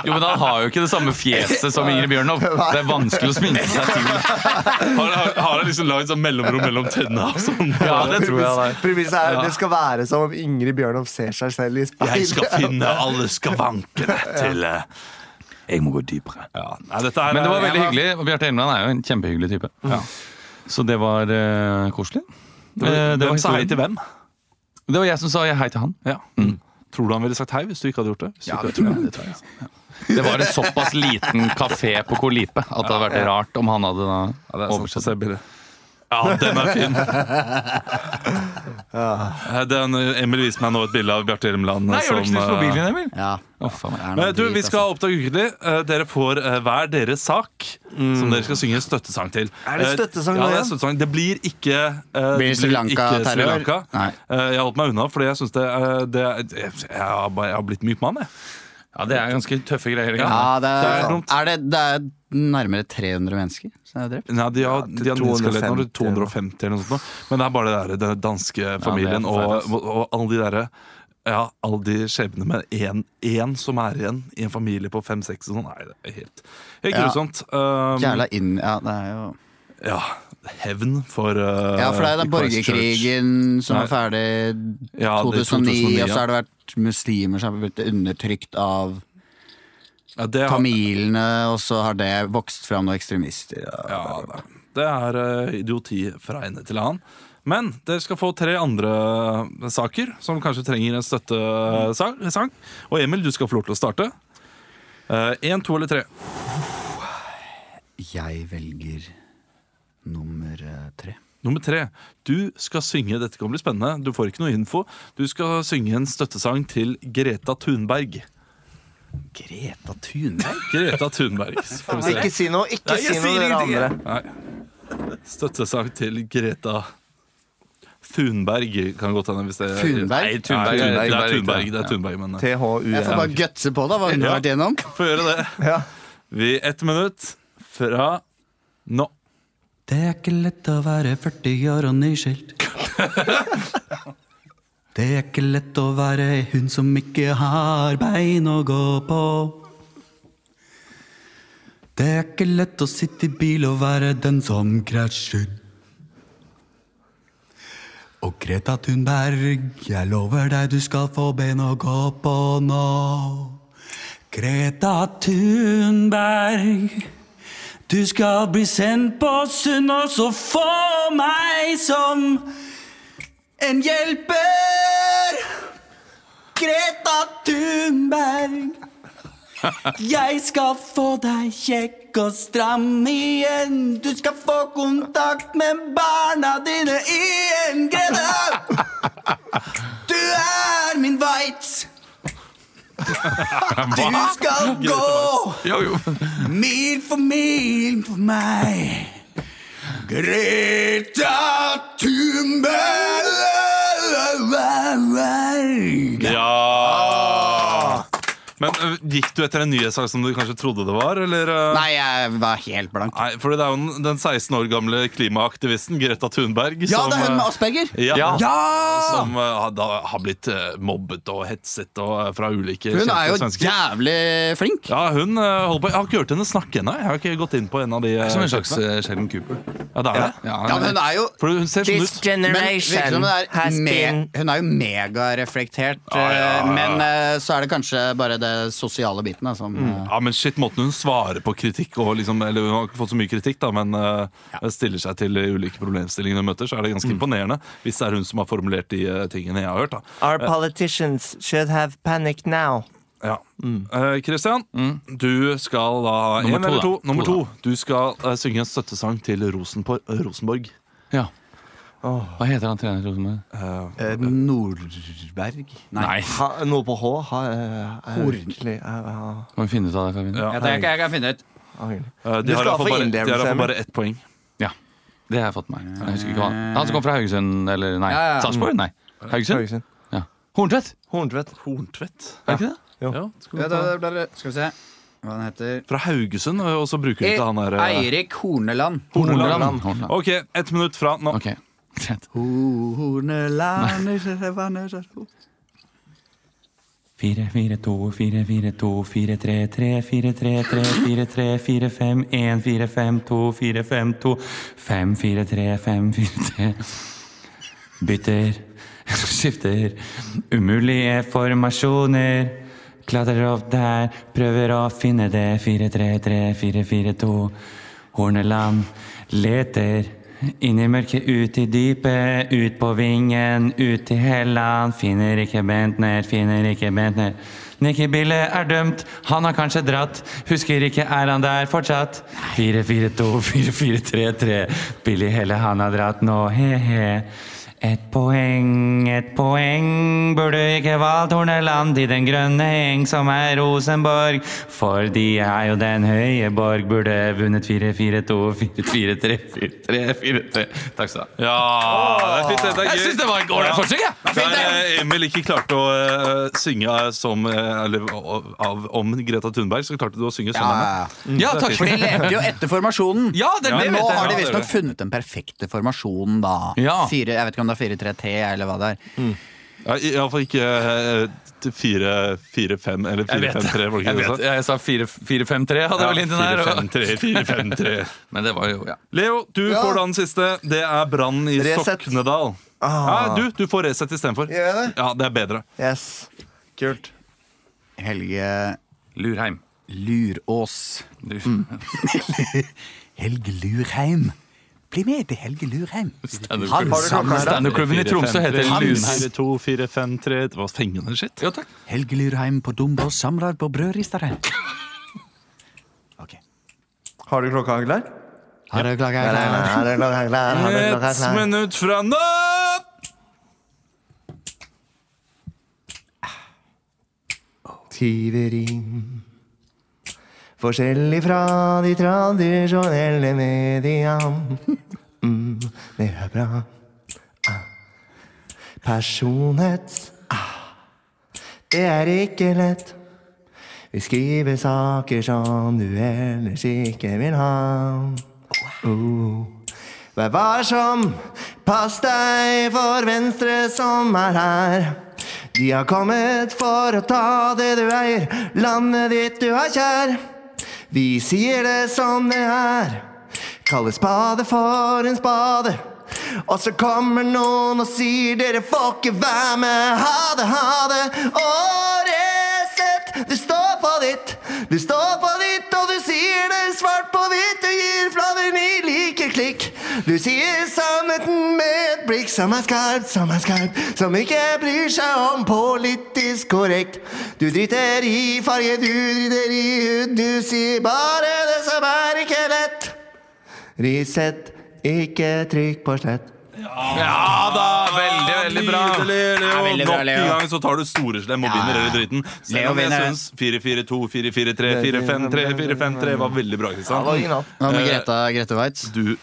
Speaker 4: Jo, men han har jo ikke det samme fjeset som Ingrid Bjørnov. Det er vanskelig å sminke seg til.
Speaker 1: Har, har, har han liksom lagd sånn mellomrom mellom tenna? og Sånn.
Speaker 4: Ja, det tror jeg det er.
Speaker 3: Premisset er at det skal være som om Ingrid Bjørnov ser seg selv i
Speaker 1: Jeg skal
Speaker 3: speilet.
Speaker 1: finne alle skavankene til eh,
Speaker 4: Jeg må gå dypere.
Speaker 1: ja, nei, dette her
Speaker 4: Men det
Speaker 1: er-
Speaker 4: var veldig
Speaker 1: jeg
Speaker 4: hyggelig. og Bjarte Hjelmeland er jo en kjempehyggelig type. Så det var eh, koselig. Eh,
Speaker 1: Hvem
Speaker 4: det var
Speaker 1: sa hei
Speaker 4: historien.
Speaker 1: til hvem?
Speaker 4: Det var jeg som sa hei til han. Mm.
Speaker 1: Ja. Tror du han ville sagt hei hvis du ikke hadde gjort det? Hvis du
Speaker 2: Ja,
Speaker 1: ikke
Speaker 2: det tror
Speaker 1: hadde-
Speaker 2: jeg. Det tror jeg.
Speaker 4: Det var en såpass liten kafé på Kolipe at det hadde vært rart om han hadde da oversett det.
Speaker 1: sånn Ja, den er fin. Eh, Den, Emil viste meg nå et bilde av Bjarte Hjelmeland.
Speaker 4: Nei, gjør du ikke
Speaker 1: som,
Speaker 4: det på
Speaker 1: eh,
Speaker 4: mobilen, Emil?
Speaker 2: Ja.
Speaker 4: Å, faen meg.
Speaker 2: det er sånn. noe
Speaker 1: Men du, Vi
Speaker 2: drit, altså?
Speaker 1: skal oppdage ukentlig. Eh, Dere får eh, hver deres sak
Speaker 4: Mm.
Speaker 1: som dere skal synge støttesang til.
Speaker 3: Er det
Speaker 1: Eh,
Speaker 3: støttesang
Speaker 1: ja,
Speaker 3: nå
Speaker 1: det er
Speaker 3: igjen?
Speaker 1: støttesang. Det blir ikke eh,
Speaker 2: Blir Sri Lanka
Speaker 1: ikke Sri
Speaker 2: terror?
Speaker 1: Lanka.
Speaker 2: Nei.
Speaker 1: Eh, Jeg holdt meg unna, fordi jeg syns det, eh, det jeg, jeg, har bare- jeg har blitt myk mann, jeg.
Speaker 4: Ja, det er ganske tøffe greier. ikke
Speaker 2: Ja,
Speaker 4: sant?
Speaker 2: det er,
Speaker 1: Det er dumt.
Speaker 2: er det, det er nærmere 300 mennesker som er drept.
Speaker 1: Nei, de har, de har
Speaker 3: 250.
Speaker 1: nedskalert nå, 250 eller noe sånt. nå. Men det er bare det der, den danske familien
Speaker 4: forferdelig,
Speaker 1: og, og, og alle de derre ja, alle de skjebnene med én- én som er igjen i en familie på fem-seks og sånn. Nei, det er helt, helt
Speaker 2: Ja.
Speaker 1: grusomt. Um,
Speaker 2: Jævla inn... Ja, det er jo
Speaker 1: ja, hevn for uh,
Speaker 2: Ja, for det er den
Speaker 1: Christchurch.
Speaker 2: borgerkrigen som
Speaker 1: Nei.
Speaker 2: var ferdig
Speaker 1: Ja, det
Speaker 2: 2009,
Speaker 1: er 2009,
Speaker 2: og så har det vært muslimer som har blitt undertrykt av
Speaker 1: Ja, det, har-
Speaker 2: tamilene, og så har det vokst fram noen ekstremister. og-
Speaker 1: ja, det- det er uh, idioti fra ende til annen. Men dere skal få tre andre eh, saker som kanskje trenger en støttesang. Og Emil, du skal få lov til å starte. Én, to eller tre?
Speaker 2: Jeg velger nummer eh, tre.
Speaker 1: Nummer tre. Du skal synge Dette kan bli spennende. Du får ikke noe info. Du skal synge en støttesang til Greta Thunberg.
Speaker 2: Greta Thunberg?
Speaker 1: Greta Thunberg. så Får vi se.
Speaker 3: Ikke si noe, ikke si noe, dere andre.
Speaker 1: Nei. Støttesang til Greta Thunberg kan godt hende. hvis det
Speaker 2: Thunberg?
Speaker 1: Nei, Thunberg,
Speaker 4: Nei,
Speaker 1: det er
Speaker 4: Thunberg,
Speaker 1: Thunberg. Det
Speaker 4: ja.
Speaker 1: er Thunberg, men
Speaker 2: Jeg får bare
Speaker 3: THUN.
Speaker 2: gutse på da, hva hun har vært igjennom.
Speaker 1: Få gjøre det.
Speaker 3: Ja.
Speaker 1: Vi Ett minutt fra nå.
Speaker 6: Det er ikke lett å være 40 år og nyskilt. Det er ikke lett å være hun som ikke har bein å gå på. Det er ikke lett å sitte i bil og være den som krasjer. Og Greta Thunberg, jeg lover deg du skal få ben å gå på nå. Greta Thunberg. Du skal bli sendt på sund og så få meg som en hjelper. Greta Thunberg. Jeg skal få deg kjekk og stram igjen. Du skal få kontakt med barna dine igjen, Greta. Du er min Waitz. Du skal gå Mil for mil for meg. Greta Thunberg.
Speaker 1: Ja! Men ø, gikk du etter en nyhetssang som du kanskje trodde det var, eller? ø?
Speaker 2: Nei, jeg var helt blank.
Speaker 1: Nei, for det er jo den- den 16 år gamle klimaaktivisten Greta Thunberg
Speaker 2: Ja,
Speaker 1: som,
Speaker 2: det er hun med
Speaker 1: eh,
Speaker 2: Asperger.
Speaker 1: ja,
Speaker 2: Ja!
Speaker 1: Som eh, har- da har blitt eh, mobbet og hetset og, eh, fra ulike
Speaker 2: Hun
Speaker 1: kjente
Speaker 2: er jo
Speaker 1: svensker.
Speaker 2: jævlig flink.
Speaker 1: Ja, hun eh, holder på Jeg har ikke hørt henne snakke ennå. Jeg har ikke gått inn på en av de eh,
Speaker 4: Som en slags
Speaker 1: kjentene.
Speaker 4: eh, Sheldon Cooper.
Speaker 1: Ja, det er det.
Speaker 4: Ja,
Speaker 2: Ja, men hun er jo
Speaker 1: For hun ser sånn ut.
Speaker 2: men virker som hun, er
Speaker 3: has
Speaker 2: me-
Speaker 3: been-
Speaker 2: hun er jo megareflektert,
Speaker 1: Ja, ja, ja.
Speaker 2: eh, men eh, så er det kanskje bare det sosiale biten da, som eh,
Speaker 1: Ja, men shit, Måten hun svarer på kritikk og liksom, Eller Hun har ikke fått så mye kritikk, da men eh, stiller seg til de ulike problemstillingene hun møter, så er det ganske imponerende. Hvis det er hun som har formulert de eh, tingene jeg har hørt. da
Speaker 3: Our politicians should have panic now.
Speaker 1: Ja. Eh, Christian, du skal da ha
Speaker 4: Nummer
Speaker 1: en
Speaker 4: to,
Speaker 1: eller to.
Speaker 4: da.
Speaker 1: Nummer
Speaker 4: To,
Speaker 1: to. Du skal eh, synge en støttesang til Rosenborg. eh, Rosenborg.
Speaker 4: Ja. Hva heter han treneren? tror du, som er-
Speaker 2: eh, Nordberg Nei.
Speaker 3: Ha, noe på H? Ha, eh, ordentlig eh, ha-
Speaker 4: Må vi finne ut av det før vi
Speaker 1: Ja.
Speaker 4: begynner?
Speaker 2: Jeg, jeg, jeg kan finne ut.
Speaker 3: ha- ordentlig.
Speaker 1: Eh, de har
Speaker 3: Du skal
Speaker 1: iallfall
Speaker 3: få
Speaker 1: bare, de har i hvert
Speaker 3: innlevelse,
Speaker 1: fall bare ett poeng.
Speaker 4: Ja. Det har jeg fått med meg. Jeg husker ikke hva han Han som kom fra Haugesund, eller nei.
Speaker 2: Ja, ja.
Speaker 4: Sarpsborg? Nei. Haugesund?
Speaker 3: Haugesund.
Speaker 4: Ja. Horntvedt?
Speaker 3: Horntvedt.
Speaker 1: Horntvedt.
Speaker 4: Er det ikke det?
Speaker 1: Ja,
Speaker 2: Ja, da, da, da, da, skal vi se hva den heter. E-
Speaker 1: Fra Haugesund, og så bruker du ikke han der eh,
Speaker 2: Eirik Horneland.
Speaker 4: Horneland. Horneland.
Speaker 1: Ok, ett minutt fra nå.
Speaker 4: Ok, greit.
Speaker 2: Horneland
Speaker 10: Fire, fire, to, fire, fire, to, fire, tre, tre, fire, tre, tre, fire, tre, fire, fem, en, fire, fem, to, fire, fem, to, fem, fire, tre, fem, fire, tre. Bytter, skifter, umulige formasjoner. Klatrer opp der, prøver å finne det, fire, tre, tre, fire, fire, to. Horneland leter, Inn i mørket, ut i dypet, ut på vingen, ut til Helland. Finner ikke Bentner, finner ikke Bentner. Nikki Bille er dømt, han har kanskje dratt. Husker ikke, er han der fortsatt? 4-4-2-4-4-3-3. Billy Helle, han har dratt nå, he-he. Et poeng, et poeng burde ikke valgt Horneland i den grønne eng som er Rosenborg. For de er jo den høye borg, burde vunnet 4-4-2-4-4-3-4-3-4-3. Takk skal du ha.
Speaker 1: Ja, det er fint. Det er gøy.
Speaker 4: Jeg syns det var et ålreit forsøk, jeg.
Speaker 1: Der eh, Emil ikke klarte å eh, synge eh, som eh, eller, av, av, om Greta Thunberg, så klarte du å synge sånn.
Speaker 2: Ja,
Speaker 4: Ja, takk.
Speaker 2: For de levde jo etter formasjonen.
Speaker 4: Ja, det
Speaker 2: Men
Speaker 4: vet
Speaker 2: nå
Speaker 4: jeg.
Speaker 2: har de
Speaker 1: Ja, det
Speaker 2: visstnok
Speaker 1: vet
Speaker 2: funnet den perfekte formasjonen, da.
Speaker 4: Ja.
Speaker 2: Fire, jeg vet ikke om det er 4-3-T eller hva det er.
Speaker 1: Iallfall ikke eh, til fire, fire, fem eller
Speaker 4: Jeg vet.
Speaker 1: 4-5-3. var det ikke
Speaker 4: Jeg,
Speaker 1: det du
Speaker 4: vet,
Speaker 1: sa?
Speaker 4: jeg sa 4-5-3, hadde vel linjen
Speaker 1: Ja,
Speaker 4: her. og-
Speaker 1: 4-5-3, 4-5-3.
Speaker 4: Men det var jo ja.
Speaker 1: Leo, du får da den siste. Det er brannen i
Speaker 3: Resett.
Speaker 1: Soknedal.
Speaker 3: Ah.
Speaker 1: Nei, du, du får Resett istedenfor.
Speaker 3: Gjør jeg det?
Speaker 1: Ja, det er bedre.
Speaker 3: Yes. Kult.
Speaker 2: Helge
Speaker 4: Lurheim.
Speaker 2: Lurås.
Speaker 4: Du.
Speaker 2: Helge Lurheim. Bli med til Helge Lurheim.
Speaker 4: Har du
Speaker 2: sammen-
Speaker 4: klokka her, da? Standup-klubben i Tromsø heter Lunheim.
Speaker 1: 4-5-3 Det var fengende skitt.
Speaker 4: Jo, takk.
Speaker 2: Helge Lurheim på Dombås samlag på Brødristerheim.
Speaker 3: Har du klokka klar?
Speaker 2: Har du klokka
Speaker 3: Nei, nei,
Speaker 2: klar?
Speaker 3: har du klokka klar? Har du klokka
Speaker 1: Ett
Speaker 3: klar?
Speaker 1: minutt fra nå!
Speaker 3: tyveri. Forskjellig fra de tradisjonelle media. Mm, det er bra. Ah. Personlighet. Ah. Det er ikke lett. Vi skriver saker som du ellers ikke vil ha. Oh. Vær varsom, pass deg for Venstre som er her. De har kommet for å ta det du eier, landet ditt du har kjær. Vi sier det som det er, kaller spade for en spade. Og så kommer noen og sier dere får ikke være med, ha det, ha det. Og Resett, du står på ditt, du står på ditt, og du sier det svart på hvitt, du gir flaven i like klikk. Du sier sannheten med et blikk som er skarpt, som er skarpt, som ikke bryr seg om politisk korrekt. Du driter i farge, du driter i hud, du sier bare det som er ikke lett. Resett, ikke trykk på slett.
Speaker 4: Ja da, veldig, veldig bra.
Speaker 1: Nydelig, Leo.
Speaker 2: Ja, veldig bra,
Speaker 1: Nok
Speaker 2: Leo.
Speaker 1: en gang så tar du storeslem og
Speaker 2: Ja,
Speaker 1: vinner
Speaker 2: ja, ja.
Speaker 1: hele dritten.
Speaker 2: Leo
Speaker 1: Selv om jeg
Speaker 2: vinner.
Speaker 1: syns 4-4-2, 4-4-3, 4-5-3, 4-5-3 var veldig bra. Eh, Kristian
Speaker 2: Eh, Hva med Greta, Grete Waitz?
Speaker 1: Du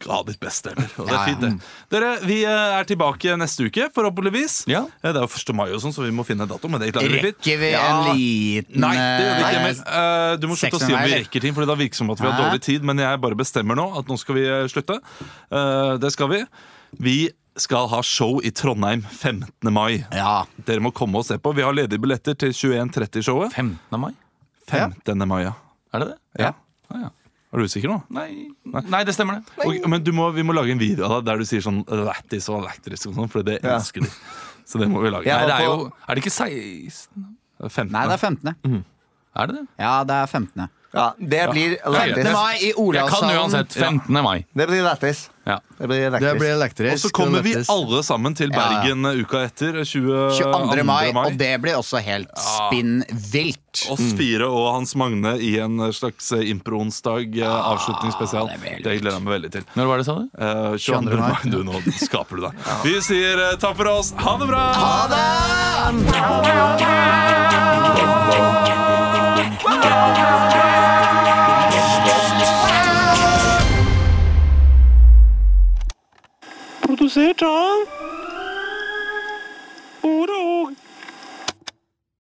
Speaker 1: ga ditt beste, Emil. Og det er fint, det. Dere, vi eh, er tilbake neste uke, forhåpentligvis.
Speaker 4: Ja.
Speaker 1: Eh, Det er jo 1. mai, og sånn, så vi må finne en dato. Men det klarer vi fint.
Speaker 2: Rekker vi en liten
Speaker 1: Nei, det gjør vi ikke,
Speaker 2: eh,
Speaker 1: Emil. Eh, Du må slutte å si
Speaker 2: Sekstende
Speaker 1: om vi
Speaker 2: mai,
Speaker 1: rekker ting, for det virker det som at vi har
Speaker 2: Hæ?
Speaker 1: dårlig tid. Men jeg bare bestemmer nå at nå skal vi eh, slutte. Eh, Det skal vi. Vi skal ha show i Trondheim 15. mai.
Speaker 2: Ja.
Speaker 1: Dere må komme og se på. Vi har ledige billetter til 21.30-showet.
Speaker 4: 15. mai?
Speaker 1: 15. mai, ja.
Speaker 4: Er det det?
Speaker 1: Ja.
Speaker 4: Ah, ja.
Speaker 1: Er du usikker nå?
Speaker 4: Nei. Nei, det stemmer det.
Speaker 1: Ok, men du må, vi må lage en video av deg der du sier sånn lættis og lættis og sånn, for det
Speaker 3: Ja.
Speaker 1: elsker de. Så det må vi lage.
Speaker 3: Ja.
Speaker 1: Nei,
Speaker 4: Nei, det er jo Er det ikke 16?
Speaker 1: det er 15.
Speaker 2: Nei, det er 15.
Speaker 4: Er det det?
Speaker 2: Ja, det er 15.
Speaker 3: Ja, det blir
Speaker 2: Det
Speaker 3: lættis.
Speaker 2: var i
Speaker 4: Jeg kan
Speaker 2: Olavshallen.
Speaker 4: uansett. 15. mai.
Speaker 3: Det blir lættis.
Speaker 4: Ja.
Speaker 3: Det blir
Speaker 2: Det
Speaker 3: lættis.
Speaker 2: blir
Speaker 1: Og
Speaker 2: elektrisk.
Speaker 1: så kommer vi
Speaker 2: elektrisk.
Speaker 1: alle sammen til
Speaker 2: Ja, ja.
Speaker 1: Bergen eh, uka etter. 22.
Speaker 2: 22. mai, og det Mm. blir også helt spinn vilt.
Speaker 1: Oss fire og Hans Magne i en slags eh, impro-onsdag, eh, avslutningsspesial.
Speaker 2: Ah, det blir helt
Speaker 1: Det gleder jeg meg veldig til.
Speaker 4: Når var det, sa du?
Speaker 1: Eh, 22. mai. Du, nå skaper du deg. Vi sier eh, takk for oss. Ha det bra!
Speaker 11: produzir, John.